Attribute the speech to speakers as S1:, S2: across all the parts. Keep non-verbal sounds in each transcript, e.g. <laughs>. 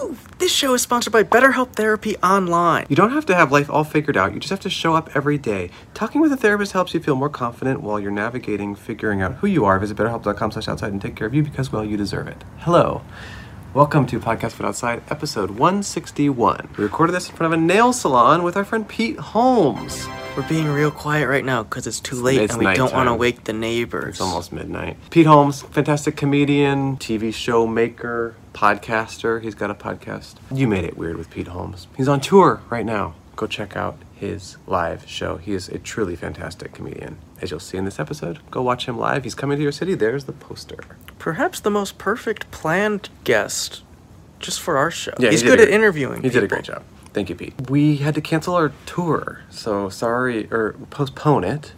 S1: move! This show is sponsored by BetterHelp Therapy Online.
S2: You don't have to have life all figured out, you just have to show up every day. Talking with a therapist helps you feel more confident while you're navigating figuring out who you are. Visit betterhelp.com slash outside and take care of you because, well, you deserve it. Hello. Welcome to Podcast But Outside, episode 161. We recorded this in front of a nail salon with our friend Pete Holmes.
S1: We're being real quiet right now because it's too late
S2: It's
S1: and we don't
S2: nighttime.
S1: want to wake the neighbors.
S2: It's almost midnight. Pete Holmes, fantastic comedian, TV show maker, podcaster. He's got a podcast. You made it weird with Pete Holmes. He's on tour right now. Go check out his live show. He is a truly fantastic comedian. As you'll see in this episode, go watch him live. He's coming to your city. There's the poster.
S1: Perhaps the most perfect planned guest just for our show.
S2: he
S1: He's
S2: did
S1: good
S2: a
S1: at interviewing.
S2: He did a
S1: people.
S2: great job. Thank you, Pete. We had to cancel our tour, so sorry, or postpone it.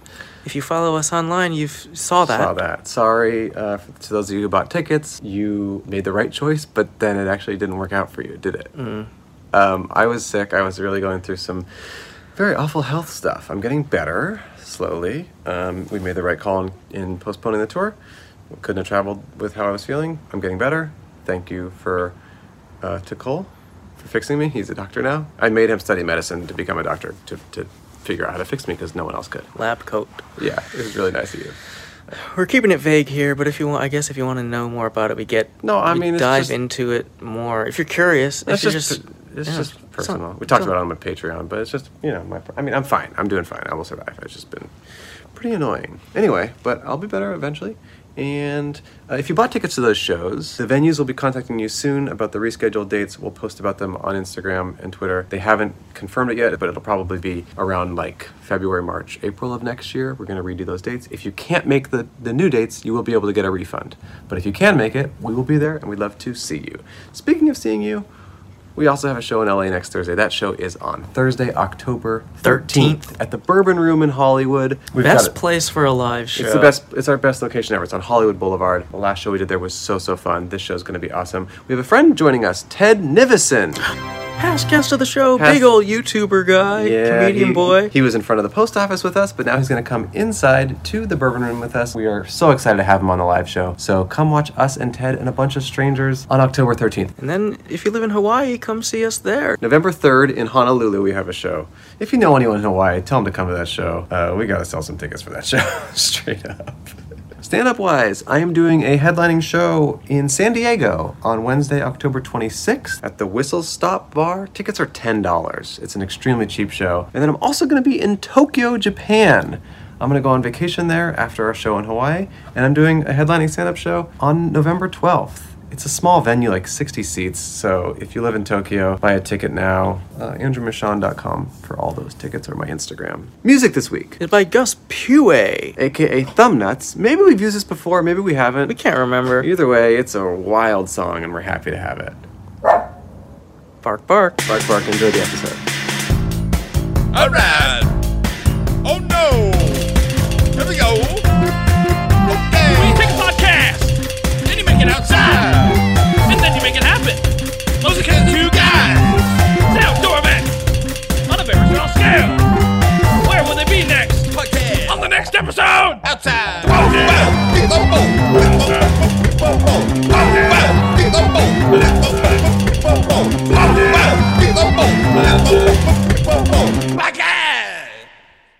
S1: If you follow us online, you have saw that.
S2: Saw that. Sorry uh, f- to those of you who bought tickets. You made the right choice, but then it actually didn't work out for you, did it?
S3: Mm.
S2: Um, I was sick. I was really going through some very awful health stuff. I'm getting better slowly. Um, we made the right call in, in postponing the tour. Couldn't have traveled with how I was feeling. I'm getting better. Thank you for uh, to Cole for fixing me. He's a doctor now. I made him study medicine to become a doctor to, to figure out how to fix me because no one else could.
S1: Lab coat.
S2: Yeah, it was really nice of you.
S1: We're keeping it vague here, but if you want, I guess if you want to know more about it, we get
S2: No, I
S1: we
S2: mean, it's
S1: dive
S2: just-
S1: into it more. If you're curious,
S2: That's
S1: if you're
S2: just, it's
S1: yeah, it's
S2: just
S1: not-
S2: personal. we
S1: it's
S2: talked
S1: not-
S2: about it on my Patreon, but it's just you know my. I mean, I'm fine. I'm doing fine. I will survive. It's just been pretty annoying. Anyway, but I'll be better eventually. And uh, if you bought tickets to those shows, the venues will be contacting you soon about the rescheduled dates. We'll post about them on Instagram and Twitter. They haven't confirmed it yet, but it'll probably be around like February, March, April of next year. We're going to redo those dates. If you can't make the, the new dates, you will be able to get a refund. But if you can make it, we will be there and we'd love to see you. Speaking of seeing you, we also have a show in LA next Thursday. That show is on Thursday, October 13th,
S1: 13th.
S2: at the Bourbon Room in Hollywood. We've got
S1: Best
S2: it.
S1: place for a live show.
S2: It's the best. It's our best location ever. It's on Hollywood Boulevard. The last show we did there was so so fun. This show's going to be awesome. We have a friend joining us, Ted Nivison.
S1: Past guest of the show,
S2: Past-
S1: big old YouTuber guy, comedian
S2: he-
S1: boy.
S2: He was in front of the post office with us, but now he's going to come inside to the Bourbon Room with us. We are so excited to have him on the live show. So come watch us and Ted and a bunch of strangers on October 13th.
S1: and then if you live in Hawaii, come see us there.
S2: November 3rd in Honolulu, we have a show. If you know anyone in Hawaii, tell them to come to that show. Uh, we got to sell some tickets for that show, <laughs> straight up. Stand up wise, I am doing a headlining show in San Diego on Wednesday, October 26th at the Whistle Stop Bar. Tickets are $10. It's an extremely cheap show. And then I'm also going to be in Tokyo, Japan. I'm going to go on vacation there after our show in Hawaii, and I'm doing a headlining stand up show on November 12th. It's a small venue, like 60 seats. So if you live in Tokyo, buy a ticket now. Uh, AndrewMichon.com for all those tickets or my Instagram. Music this week,
S1: It's by Gus Pue.
S2: aka Thumbnuts. Maybe we've used this before, maybe we haven't.
S1: We can't remember.
S2: Either way, it's a wild song, and we're happy to have it.
S1: Bark, bark.
S2: Bark, bark, enjoy the episode.
S4: All right. Oh no. Here we go. Okay.
S5: You take a podcast, then you make it outside, and then you make it happen. Those are kind of two guys. It's an outdoor event on a very small scale. Where will they be next?
S4: Podcast.
S5: On the next episode.
S4: outside.
S5: Whoa, yeah.
S4: Podcast.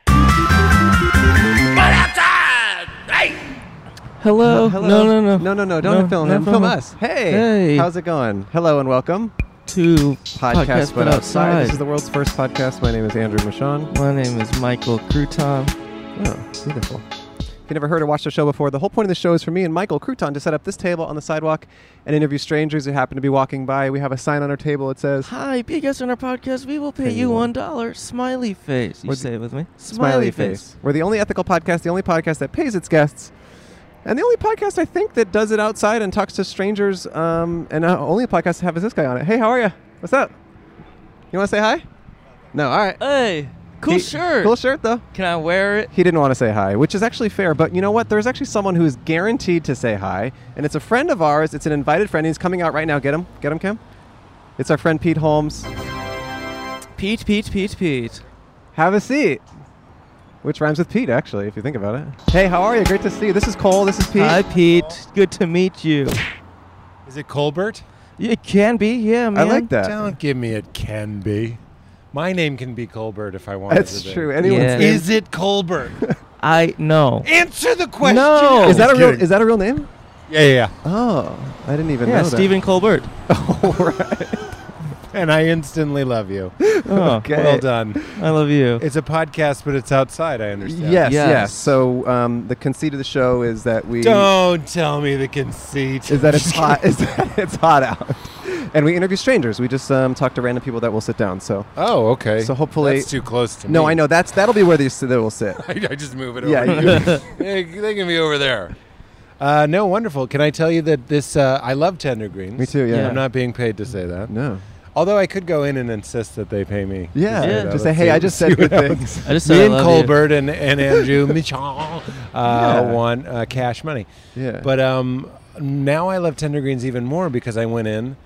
S5: But outside. Hey.
S6: Hello. No, no, no.
S2: No, no, no, don't film him. Film us. Hey.
S6: Hey.
S2: How's it going? Hello and welcome.
S6: Two
S2: Podcast, But
S6: podcasts, but outside.
S2: This is the world's first podcast. My name is Andrew Michon.
S6: My name is Michael Crouton.
S2: Oh, beautiful. If you never heard or watched the show before, the whole point of the show is for me and Michael Crouton to set up this table on the sidewalk and interview strangers who happen to be walking by. We have a sign on our table that says,
S6: Hi, be a guest on our podcast. We will pay you one dollar. Smiley face. You
S2: What's-
S6: say it with me.
S2: Smiley Face. We're the only ethical podcast, the only podcast that pays its guests, and the only podcast I think that does it outside and talks to strangers. Um, and uh, only podcast to have is this guy on it. Hey, how are you? What's up? You want to say hi? No, all right.
S6: Hey, cool
S2: He-
S6: shirt.
S2: Cool shirt, though.
S6: Can I wear it?
S2: He didn't want to say hi, which is actually fair. But you know what? There's actually someone who is guaranteed to say hi, and it's a friend of ours. It's an invited friend. He's coming out right now. Get him, get him, Kim. It's our friend Pete Holmes.
S6: Pete, Pete, Pete, Pete.
S2: Have a seat. Which rhymes with Pete, actually, if you think about it. Hey, how are you? Great to see you. This is Cole. This is Pete.
S6: Hi, Pete. Good to meet you.
S7: Is it Colbert?
S6: It can be, yeah,
S2: I
S6: man.
S2: like that.
S7: Don't give me it can be. My name can be Colbert if I want.
S2: That's
S7: it to
S2: true.
S7: Be.
S2: Anyone's
S6: Yeah.
S2: name-
S7: Is it
S2: <laughs>
S7: Colbert?
S6: I know.
S7: Answer the question.
S6: No.
S2: is that a
S7: Just
S2: real?
S7: kidding.
S2: Is that a real name?
S7: Yeah, yeah,
S2: Oh, I didn't even
S6: Yeah,
S2: know that. <laughs>
S6: Stephen Colbert.
S7: yeah. And I instantly love
S2: <laughs>
S7: you.
S6: Oh,
S2: Okay.
S7: Well done.
S6: I love you.
S7: It's a podcast, but it's outside. I understand.
S2: Yes, yes.
S6: Yes.
S2: So um, the conceit of the show is that we
S7: Don't tell me the conceit.
S2: is
S7: <laughs>
S2: that it's hot. Is that <laughs> it's hot out, and we interview strangers. We just um, talk to random people that will sit down. So
S7: Oh, okay.
S2: So hopefully-
S7: that's too close to me.
S2: no, I know that's that'll be where they s- they
S7: <laughs>
S2: will sit.
S7: I, I just move it
S2: Yeah,
S7: over. <laughs> Yeah, they, they can be over there. Uh, no, wonderful. Can I tell you that this? Uh, I love Tender Greens.
S2: Me too. Yeah.
S6: Yeah.
S7: I'm not being paid to say that.
S2: No.
S7: Although I could go in and insist that they pay me. to
S2: Yeah.
S7: say
S6: Yeah.
S7: that.
S2: Just say,
S7: Let's
S2: hey,
S7: see-
S2: I just
S7: see <laughs>
S2: said good
S7: what happens.
S2: things.
S6: I just said
S7: me
S6: I
S7: and
S6: love
S7: Colbert and,
S2: <laughs>
S7: and Andrew Michon uh, want uh, cash money.
S2: Yeah.
S7: But um, now I love Tender Greens even more because I went in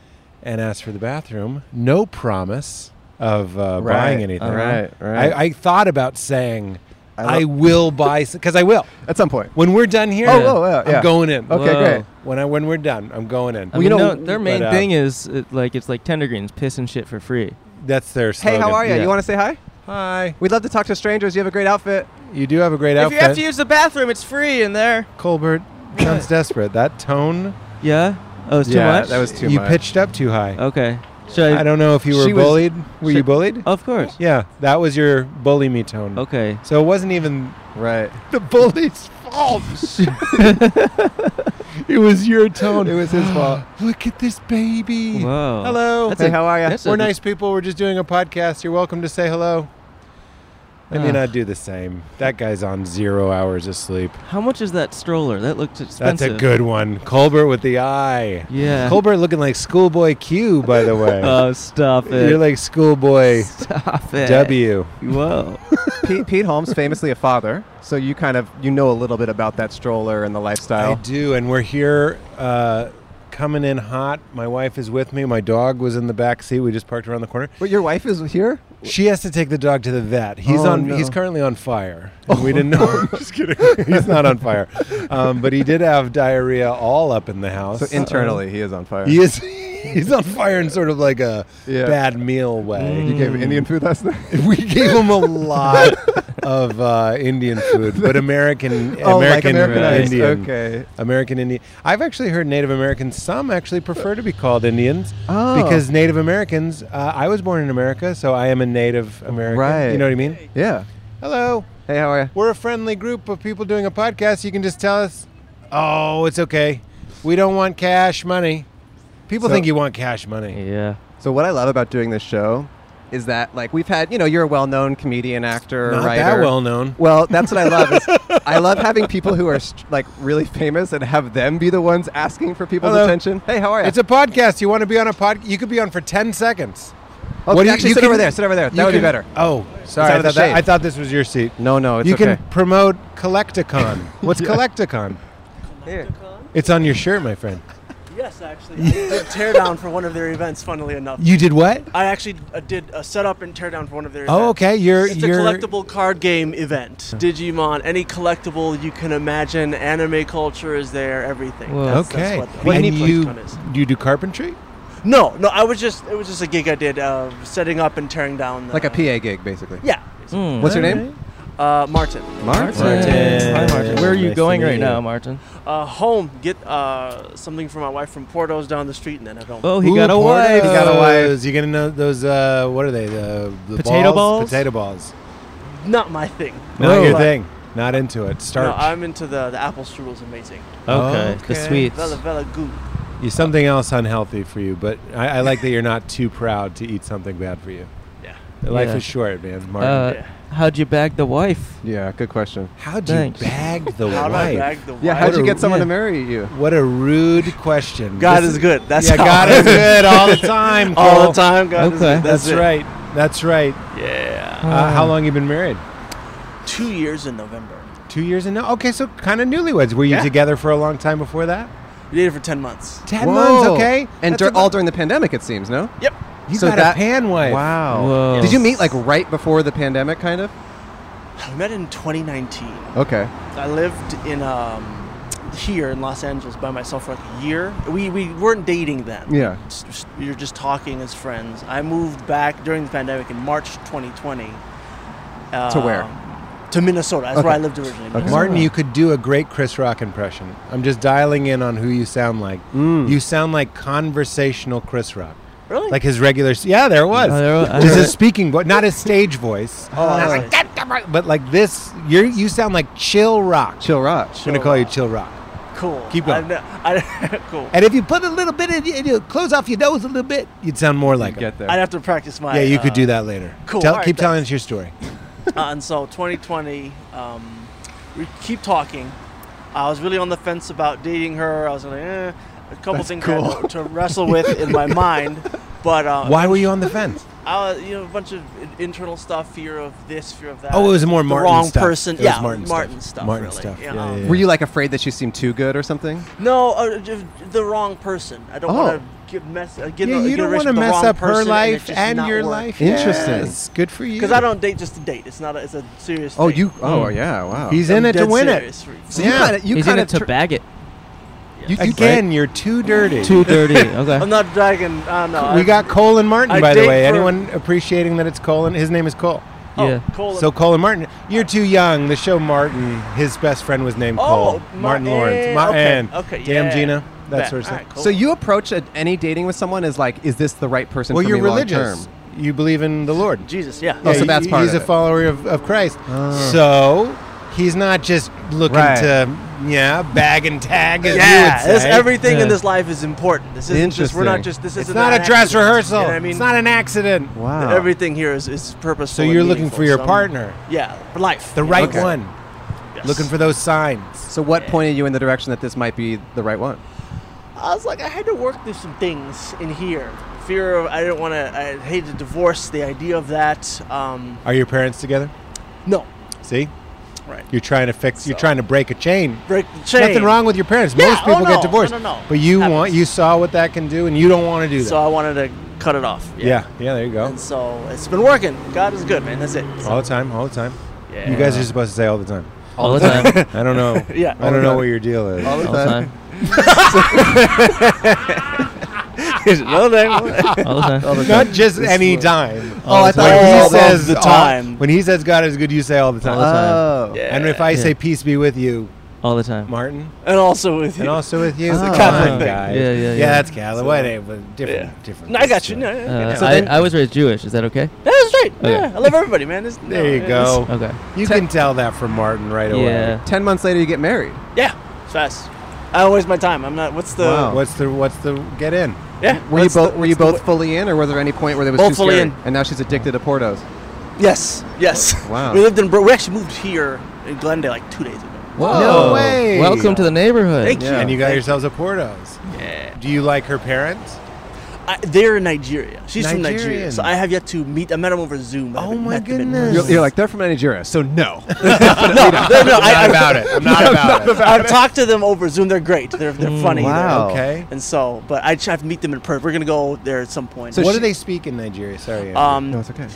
S7: and asked for the bathroom. No promise of uh, buying anything.
S2: Right. Right.
S7: I, I thought about saying,
S2: I
S7: I,
S2: lo-
S7: will buy, because I will.
S2: At some point.
S7: When we're done here,
S2: Oh, oh, yeah, yeah.
S7: I'm going in.
S2: Okay.
S6: Whoa.
S2: Great.
S7: When, I, when we're done, I'm going in.
S6: I
S2: Well,
S6: mean,
S2: you know-
S6: no, their main
S7: but, uh,
S6: thing is uh, like it's like Tender Greens, piss and shit for free.
S7: That's their
S2: Hey,
S7: slogan.
S2: how are you?
S6: Yeah.
S2: You want to say hi?
S7: Hi.
S2: We'd love to talk to strangers. You have a great outfit.
S7: You do have a great
S6: If you
S7: outfit.
S6: have to use the bathroom, it's free in there.
S7: Colbert sounds desperate. That tone
S6: Yeah. Oh, it's
S2: Yeah,
S6: too much.
S2: that was too
S7: you
S2: much.
S7: pitched up too high.
S6: Okay. Should I?
S7: I don't know if you were
S2: She was-
S7: bullied. were
S6: she-
S7: you bullied?
S6: Of course.
S7: Yeah, that was your bully me tone.
S6: Okay.
S7: So it wasn't even
S2: Right.
S7: the bully's fault. <laughs> it was your tone.
S2: It was his fault.
S7: Look at this baby.
S6: Whoa.
S7: Hello.
S6: That's
S2: hey,
S6: a-
S2: how are you?
S6: that's
S7: we're
S6: a-
S7: nice people. We're just doing a podcast. You're welcome to say hello. I
S2: Uh,
S7: mean, uh,
S6: Ah.
S7: I'd do the same. That guy's on zero hours of sleep.
S6: How much is that stroller? That looks expensive.
S7: That's a good one. Colbert with the eye.
S6: Yeah.
S7: Colbert looking like Schoolboy Q, by the way.
S6: <laughs> Oh, stop it.
S7: You're like Schoolboy
S6: stop it.
S7: W.
S6: Whoa.
S2: <laughs> Pete, Pete Holmes, famously a father, so you kind of you know a little bit about that stroller and the
S7: I
S2: lifestyle.
S7: do, and we're here uh, coming in hot. My wife is with me. My dog was in the back seat. We just parked around the corner.
S2: But your wife is here.
S7: She has to take the dog to the vet. He's
S2: Oh,
S7: on.
S2: no.
S7: He's currently on
S2: <laughs>
S7: fire. And we didn't know. I'm just kidding. <laughs> he's not on fire, um, but he did have diarrhea all up in the house. Um,
S2: So internally, he is on fire.
S7: he is. <laughs> He's on fire in sort of like a
S2: Yeah. Mm.
S7: bad meal way.
S2: You gave Indian food last night.
S7: <laughs> We gave him a
S2: <laughs>
S7: lot of uh, Indian food, but American,
S2: Oh, like
S7: American,
S2: Americanized.
S7: Indian.
S2: Okay.
S7: American Indian. I've actually heard Native Americans. Some actually prefer to be called Indians
S2: Oh.
S7: because Native Americans. Uh, I was born in America, so I am a Native American.
S2: Right.
S7: You know what I mean?
S2: Yeah.
S7: Hello.
S2: Hey, how are you?
S7: We're a friendly group of people doing a podcast. You can just tell us. Oh, it's okay. We don't want cash money. People
S2: So-
S7: think you want cash money.
S6: yeah.
S2: So what I love about doing this show is that like we've had you know you're a well-known comedian, actor,
S7: Not
S2: writer.
S7: that well known.
S2: Well, that's what I love. Is
S7: <laughs>
S2: I love having people who are st- like really famous and have them be the ones asking for people's
S7: Hello.
S2: attention. Hey, how are you?
S7: It's a podcast. You want to be on a pod? You could be on for ten seconds.
S2: oh,
S7: what do you-
S2: actually
S7: you
S2: sit
S7: can-
S2: over there. Sit over there. That
S7: You
S2: would be
S7: can-
S2: better.
S7: Oh,
S2: It's
S7: sorry. I
S2: out of the
S7: thought, that,
S2: shade.
S7: I thought this was your seat.
S2: No, no, it's
S7: you
S2: okay.
S7: can promote Collecticon. What's
S2: <laughs>
S7: Collecticon? It's on your shirt, my friend.
S3: Yes, actually, I did teardown for one of their events. Funnily enough,
S7: You did what?
S3: I actually uh, did a setup and teardown for one of their.
S7: Oh,
S3: events.
S7: okay. You're
S3: It's
S7: you're
S3: a collectible card game event. Digimon, any collectible you can imagine. Anime culture is there. Everything.
S6: Whoa.
S3: That's-
S7: okay.
S3: That's what, what
S7: and
S3: any
S7: you
S3: collecticon is.
S7: you do carpentry?
S3: No, no. I was just. It was just a gig I did of setting up and tearing down. The,
S2: like a PA gig, basically.
S3: Yeah.
S6: Mm.
S2: What's your name?
S3: Uh, Martin.
S2: Mark.
S6: Martin. Hi, Martin. Where are you
S7: Nice to
S6: going
S7: meet
S6: right
S7: you.
S6: now, Martin?
S3: Uh, home. Get uh, something for my wife from Porto's down the street, and then head home.
S6: Oh, he got a
S7: Ooh,
S6: wife.
S7: Portos.
S2: He got a wife.
S7: You gonna know those? Uh, what are they? The, the
S6: Potato balls?
S7: Potato balls.
S3: Not my thing.
S7: Not
S6: No.
S7: your
S3: But-
S7: thing. Not into it. Starch.
S3: No, I'm into the the apple strudel is amazing.
S6: Okay. The
S7: Okay.
S6: sweets.
S3: Vela vela goo.
S7: You- something else unhealthy for you, but I, I like that you're not too proud to eat something bad for you.
S3: Yeah.
S7: Life
S6: Yeah.
S7: is short, man. Martin.
S6: Uh,
S3: Yeah.
S6: how'd you bag the wife?
S2: Yeah, good question.
S7: How'd
S6: thanks.
S7: you bag
S3: <laughs>
S7: the
S3: How do I
S7: wife?
S3: bag the wife?
S2: Yeah, how'd
S7: What
S2: you
S7: a-
S2: get someone
S6: yeah.
S2: to marry you?
S7: What a rude question.
S3: God
S7: This
S3: is good. That's
S7: yeah,
S3: how
S7: God
S3: I-
S7: is good all the time.
S3: <laughs> all
S7: Cole.
S3: the time. God is
S6: Okay.
S3: good.
S7: That's,
S3: That's, it.
S7: right. That's right.
S3: Yeah.
S7: Uh, how long you been married?
S3: Two years in November.
S7: Two years and now. Okay, so kind of newlyweds. Were you
S3: Yeah.
S7: together for a long time before that?
S3: We dated for ten months.
S7: Ten months. Okay,
S2: And
S7: That's
S2: dur-
S7: about-
S2: all during the pandemic, it seems. No.
S3: Yep.
S7: you
S2: so
S7: got
S2: that-
S7: a pan wife.
S2: Wow.
S6: Whoa.
S2: Did you meet like right before the pandemic, kind of?
S3: We met in 2019.
S2: Okay.
S3: I lived in um, here in Los Angeles by myself for like a year. We, we weren't dating then.
S2: Yeah.
S3: It's just- You're just talking as friends. I moved back during the pandemic in March 2020. Uh,
S2: To where?
S3: To Minnesota. That's where I lived originally. Minnesota.
S7: Martin, you could do a great Chris Rock impression. I'm just dialing in on who you sound like. You sound like conversational Chris Rock.
S3: Mm. Really?
S7: Like his regular, yeah, there it was.
S6: Oh, there wa- I
S7: just
S6: heard
S7: his speaking voice, not his stage voice.
S3: Oh, that's nice.
S7: But like this, you you sound like Chill Rock.
S2: Chill Rock.
S7: I'm gonna
S3: Chill
S7: call you
S3: Rock.
S7: Chill Rock.
S3: cool.
S7: Keep going.
S3: I've ne- I- <laughs> cool.
S7: And if you put a little bit in, you close off your nose a little bit, you'd sound more like him.
S2: Get there.
S3: I'd have to practice my.
S7: Yeah, you could
S3: uh,
S7: do that later.
S3: cool.
S7: Tell,
S3: All right,
S7: keep telling
S3: thanks.
S7: us your story.
S3: uh, and so 2020, um, we keep talking. I was really on the fence about dating her. I was like, eh, a couple things I had to, to wrestle with in
S7: <laughs>
S3: my mind. But uh,
S7: Why were you on the fence?
S3: I was, you know, a bunch of i- internal stuff, fear of this, fear of that.
S7: Oh, it was more
S3: the
S7: Martin
S3: wrong
S7: stuff.
S3: person.
S7: It was
S3: yeah,
S7: Martin
S3: Martin,
S7: stuff.
S3: stuff.
S7: Martin
S3: really.
S7: stuff.
S3: Yeah.
S7: Yeah,
S3: um,
S7: yeah,
S2: Were you like afraid that she seemed too good or something?
S3: No, uh, j- the wrong person. I don't
S2: Oh.
S3: want to get mess. Uh, get
S7: yeah,
S3: a,
S7: you
S3: get a
S7: don't want to
S3: relationship with the
S7: mess
S3: wrong
S7: up her
S3: person and it
S7: life
S3: just
S7: and
S3: not
S7: your
S3: work.
S7: life.
S2: Interesting.
S7: Yes, good for you. Mm.
S3: Because I don't date just to date. It's not. A, it's a serious.
S2: Oh,
S3: thing.
S2: you. Oh, yeah. Wow.
S7: He's
S3: I'm
S7: in it to
S3: dead
S7: win it.
S3: serious.
S2: So
S7: Yeah.
S2: you kind of. You
S6: He's in
S2: kind
S6: it
S2: of.
S6: to bag it.
S2: you, you
S7: Again, you're too dirty. <laughs>
S6: Too dirty. Okay.
S3: I'm not dragging. I don't know.
S7: we
S3: I-
S7: got Cole and Martin,
S3: I
S7: by the
S3: date
S7: way.
S3: for-
S7: Anyone appreciating that it's Colin? His name is Cole.
S3: Oh,
S6: Yeah.
S3: Cole
S7: So Cole and Martin, you're too young. The show Martin, his best friend was named Cole.
S3: Oh,
S7: Martin
S3: Martin.
S7: Lawrence.
S3: Okay,
S7: Martin.
S3: okay,
S7: Damn
S3: yeah.
S7: Gina. That
S3: Bet.
S7: sort of stuff.
S3: Alright, cool.
S2: So you approach a, any dating with someone as like, is this the right person
S7: Well,
S2: for
S7: you're
S2: me long
S7: religious.
S2: term?
S7: You believe in the Lord.
S3: Jesus, yeah.
S2: Oh, so
S7: you-
S2: that's part
S7: He's
S2: of
S7: a
S2: it.
S7: follower of, of Christ.
S3: Oh.
S7: So he's not just looking
S2: Right.
S7: to, yeah, bag and tag. As
S3: yeah,
S7: you would
S3: this,
S7: say.
S3: everything
S6: Yeah.
S3: in this life is important. This isn't just we're not
S2: Interesting.
S3: just this
S7: It's
S3: isn't
S7: not
S3: an
S7: a dress
S3: accident,
S7: rehearsal.
S3: You know what I mean,
S7: It's not an accident.
S2: Wow.
S3: everything here is is
S7: So
S3: purposeful.
S7: you're
S3: and
S7: looking for
S3: meaningful,
S7: your
S3: so I'm-
S7: partner,
S3: Yeah, for life.
S7: the
S3: you
S7: right
S3: know?
S2: Okay.
S7: one.
S3: Yes.
S7: Looking for those signs.
S2: so what pointed you in the direction that this might be the right one?
S3: I was like, I had to work through some things in here. Fear of I didn't want to. I hated divorce. The idea of that. Um,
S7: Are your parents together?
S3: no,
S7: See,
S3: right.
S7: you're trying to fix. You're trying to break a chain.
S3: Break the chain.
S7: Nothing wrong with your parents.
S3: Yeah,
S7: Most people
S3: oh, no,
S7: get divorced.
S3: no, no, no.
S7: But you
S3: Happens.
S7: want. You saw what that can do, and you don't want to do that.
S3: So I wanted to cut it off.
S7: yeah. yeah, There you go.
S3: And so it's been working. God is good, man. That's it. So,
S7: All the time. All the time.
S3: yeah.
S7: You guys are supposed to say all the time. <laughs>
S6: All the time.
S7: I don't <laughs> know.
S3: Yeah.
S7: I don't know what your deal is.
S6: All the time.
S7: <laughs>
S6: <laughs>
S3: no,
S6: All the time.
S7: Not just any time.
S6: All the
S7: When
S6: time.
S7: he
S3: all the
S7: says the time.
S3: time.
S7: When he says God is good, you say all the time.
S6: All the time.
S2: Oh.
S3: Yeah.
S7: And if I
S6: Yeah.
S7: say peace be with you,
S6: All the time.
S7: Martin,
S3: and also with
S7: and
S3: you.
S7: also with you,
S2: That's a
S7: Come
S3: Catholic
S7: on,
S3: thing.
S7: guys.
S6: Yeah, yeah,
S7: Yeah,
S6: yeah.
S7: that's Catholic. What? But different, different.
S3: No, I got you. No,
S7: stuff.
S3: no, no.
S6: Uh,
S2: So
S6: I,
S2: then-
S6: I was raised Jewish. Is that okay?
S3: that's right.
S6: Okay.
S3: Yeah, I love everybody, man. It's-
S7: There
S3: no,
S7: you
S3: it's-
S7: go.
S6: Okay.
S7: You can tell that from Martin right away.
S6: Yeah.
S2: Ten months later, you get married.
S3: Yeah, it's fast. I don't waste my time. I'm not. What's the?
S2: Wow.
S7: What's the What's the get in?
S3: Yeah.
S2: Were you
S3: what's
S2: both
S3: the-
S2: Were you
S3: what's the
S2: both fully in, or were there any point where there was
S3: Both
S2: too
S3: fully
S2: scary?
S3: in.
S2: And now she's addicted to Portos.
S3: wa- Yes. Yes.
S2: Wow.
S3: <laughs> we lived in. Bro- we actually moved here in Glendale like two days ago.
S6: Whoa.
S7: way.
S6: Oh, Welcome to the neighborhood.
S3: Thank you.
S7: And you got yourselves a Portos. Yeah. Do you like her parents?
S3: I, they're in Nigeria. She's from Nigeria,
S7: Nigerian.
S3: so I have yet to meet. I met them over Zoom. I
S7: Oh
S3: haven't
S7: my
S3: met them in
S7: goodness.
S2: You're,
S3: person.
S2: you're like they're from Nigeria, so no.
S3: no, no, I,
S7: Not
S3: I,
S7: about it. I'm
S3: <laughs>
S7: not about it.
S3: I've talked to them over Zoom. They're great. They're they're funny.
S2: Mm, wow.
S7: Okay.
S3: They're- And so, but I just have to meet them in person. We're gonna go there at some point.
S7: what
S2: she-
S7: do they speak in Nigeria? Sorry. Andrew.
S3: um,
S2: no, it's okay.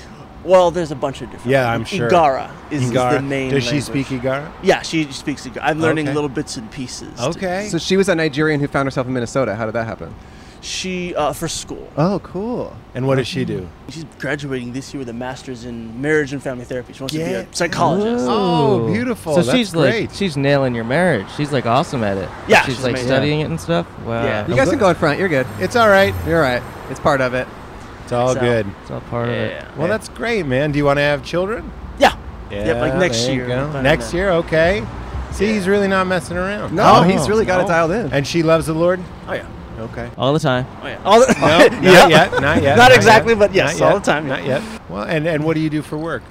S3: well, there's a bunch of different.
S7: Yeah, I'm sure.
S3: Igara is, is
S7: Igara.
S3: the main.
S7: Does she
S3: language.
S7: speak Igara?
S3: Yeah, she speaks Igara. I'm learning
S7: Okay.
S3: little bits and pieces.
S7: <laughs>
S3: to-
S7: Okay.
S2: So she was a Nigerian who found herself in Minnesota. How did that happen?
S3: She uh, for school.
S2: Oh, cool.
S7: and what does she do?
S3: She's graduating this year with a master's in marriage and family therapy. She wants to be
S7: Get-
S3: a psychologist.
S7: Oh,
S6: Ooh.
S7: beautiful.
S6: So
S7: That's
S6: she's
S7: great.
S6: like, she's nailing your marriage. She's like awesome at it.
S3: Yeah,
S6: she's,
S3: she's
S6: like
S3: amazing.
S6: studying it and stuff. Wow,
S3: Yeah.
S2: You guys can go in front. You're good.
S7: It's all right.
S2: You're all right. It's part of it.
S7: It's all
S3: So-
S7: good.
S6: it's all part of it.
S3: Yeah.
S7: Well, that's great, man. Do you want to have children?
S3: Yeah.
S7: Yeah.
S3: Yep, like next
S7: there you
S3: year.
S7: go.
S3: Fine,
S7: Next
S3: yeah.
S7: year, okay. See, he's really not messing around.
S2: No, he's really got
S7: no.
S2: it dialed in.
S7: And she loves the Lord.
S3: Oh yeah.
S7: Okay.
S6: All the time.
S3: Oh yeah. All the- <laughs>
S7: No, not yet. Not yet.
S3: Not exactly,
S7: yet,
S3: but yes,
S7: not
S3: all
S7: yet,
S3: the time, yeah.
S7: Not yet. Well, and and what do you do for work?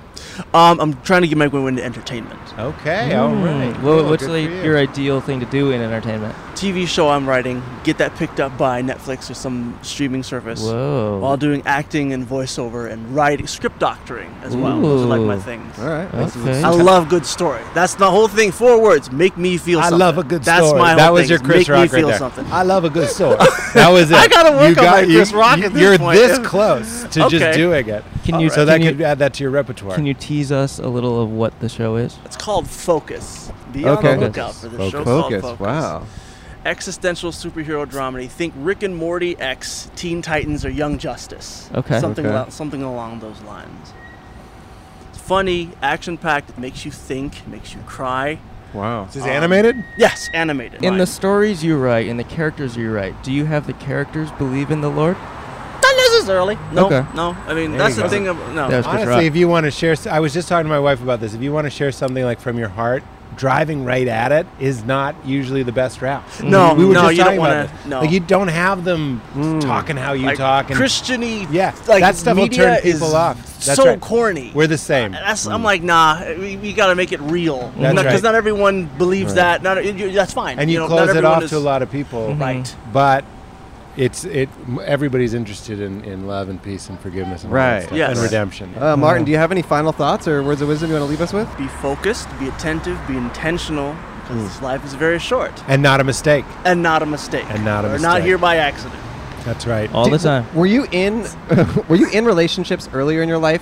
S3: Um, I'm trying to get my way into entertainment.
S7: Okay. All
S3: Mm.
S7: right.
S6: Wha-
S7: Cool,
S6: Mm. what's
S7: good
S6: like
S7: for you.
S6: your ideal thing to do in entertainment?
S3: TV show I'm writing. Get that picked up by Netflix or some streaming service.
S6: Whoa.
S3: While doing acting and voiceover and writing, script doctoring as well. Those are like my
S6: Ooh.
S3: things.
S2: All right.
S6: Okay.
S3: I love good story. That's the whole thing. Four words. Make me feel.
S7: I
S3: something.
S7: love a good
S3: That's
S7: story.
S3: my whole
S7: that was
S3: thing,
S7: your
S3: is
S7: Chris
S3: make
S7: Rock
S3: me feel
S7: right there.
S3: something.
S7: I love a
S3: <laughs>
S7: good story. that was it.
S3: I gotta work
S7: you
S3: on my
S7: you-
S3: Chris Rock
S7: You,
S3: at this
S7: you're
S3: <laughs> point.
S7: this close to
S3: Okay.
S7: just doing it.
S6: Can you-
S7: so
S6: can
S7: that
S6: you-
S7: could add that to your repertoire?
S6: Can you tease us a little of what the show is?
S3: It's called Focus. Be on
S2: Okay.
S3: the lookout for the show called
S2: Focus.
S3: Focus.
S2: Wow.
S3: Existential superhero dramedy. Think Rick and Morty X Teen Titans or Young Justice.
S6: Okay.
S3: Something
S2: Okay.
S3: alo- something along those lines. It's funny, action packed. It makes you think, makes you cry.
S7: Wow. Is this
S3: Um,
S7: animated?
S3: Yes, animated.
S6: In the
S3: Right.
S6: stories you write, in the characters you write, do you have the characters believe in the Lord?
S3: Not necessarily. No,
S6: Okay.
S3: no. I mean,
S7: There
S3: that's
S7: you go.
S3: the thing. Of, no.
S6: That was good rock.
S7: Honestly, if you want to share, s- I was just talking to my wife about this. If you want to share something like from your heart, driving right at it is not usually the best route.
S3: Mm-hmm. No,
S7: we were
S3: no,
S7: just
S3: you don't
S7: talking about
S3: wanna-
S7: this.
S3: no. Mm.
S7: Like you don't have them talking how you
S3: like,
S7: talk. And
S3: Christiany.
S7: Yeah,
S3: like,
S7: that stuff will
S3: media
S7: turn
S3: is
S7: people off. That's
S3: so
S7: right.
S3: corny.
S7: we're the same. Mm.
S3: That's, I'm like, nah, we, we got to make it real. Because
S7: That's
S3: not, 'cause
S7: right.
S3: not everyone believes
S7: Right.
S3: that. Not, you- you- that's fine.
S7: and you,
S3: know, not
S7: close it
S3: everyone
S7: off
S3: is-
S7: to a lot of people,
S3: Right.
S7: But it's it. m- Everybody's interested in, in love and peace and forgiveness and all that
S2: Right.
S7: stuff,
S3: Yes.
S7: and redemption. Mm-hmm.
S2: Uh, Martin, do you have any final thoughts or words of wisdom you want to leave us with?
S3: Be focused, be attentive, be intentional, because
S2: Hmm.
S3: life is very short
S7: and not a mistake.
S3: and not a mistake.
S7: And not a
S3: We're not
S7: mistake.
S3: here by accident.
S7: That's right.
S6: All the
S2: Did-
S6: time.
S2: Were you in <laughs> were you in relationships earlier in your life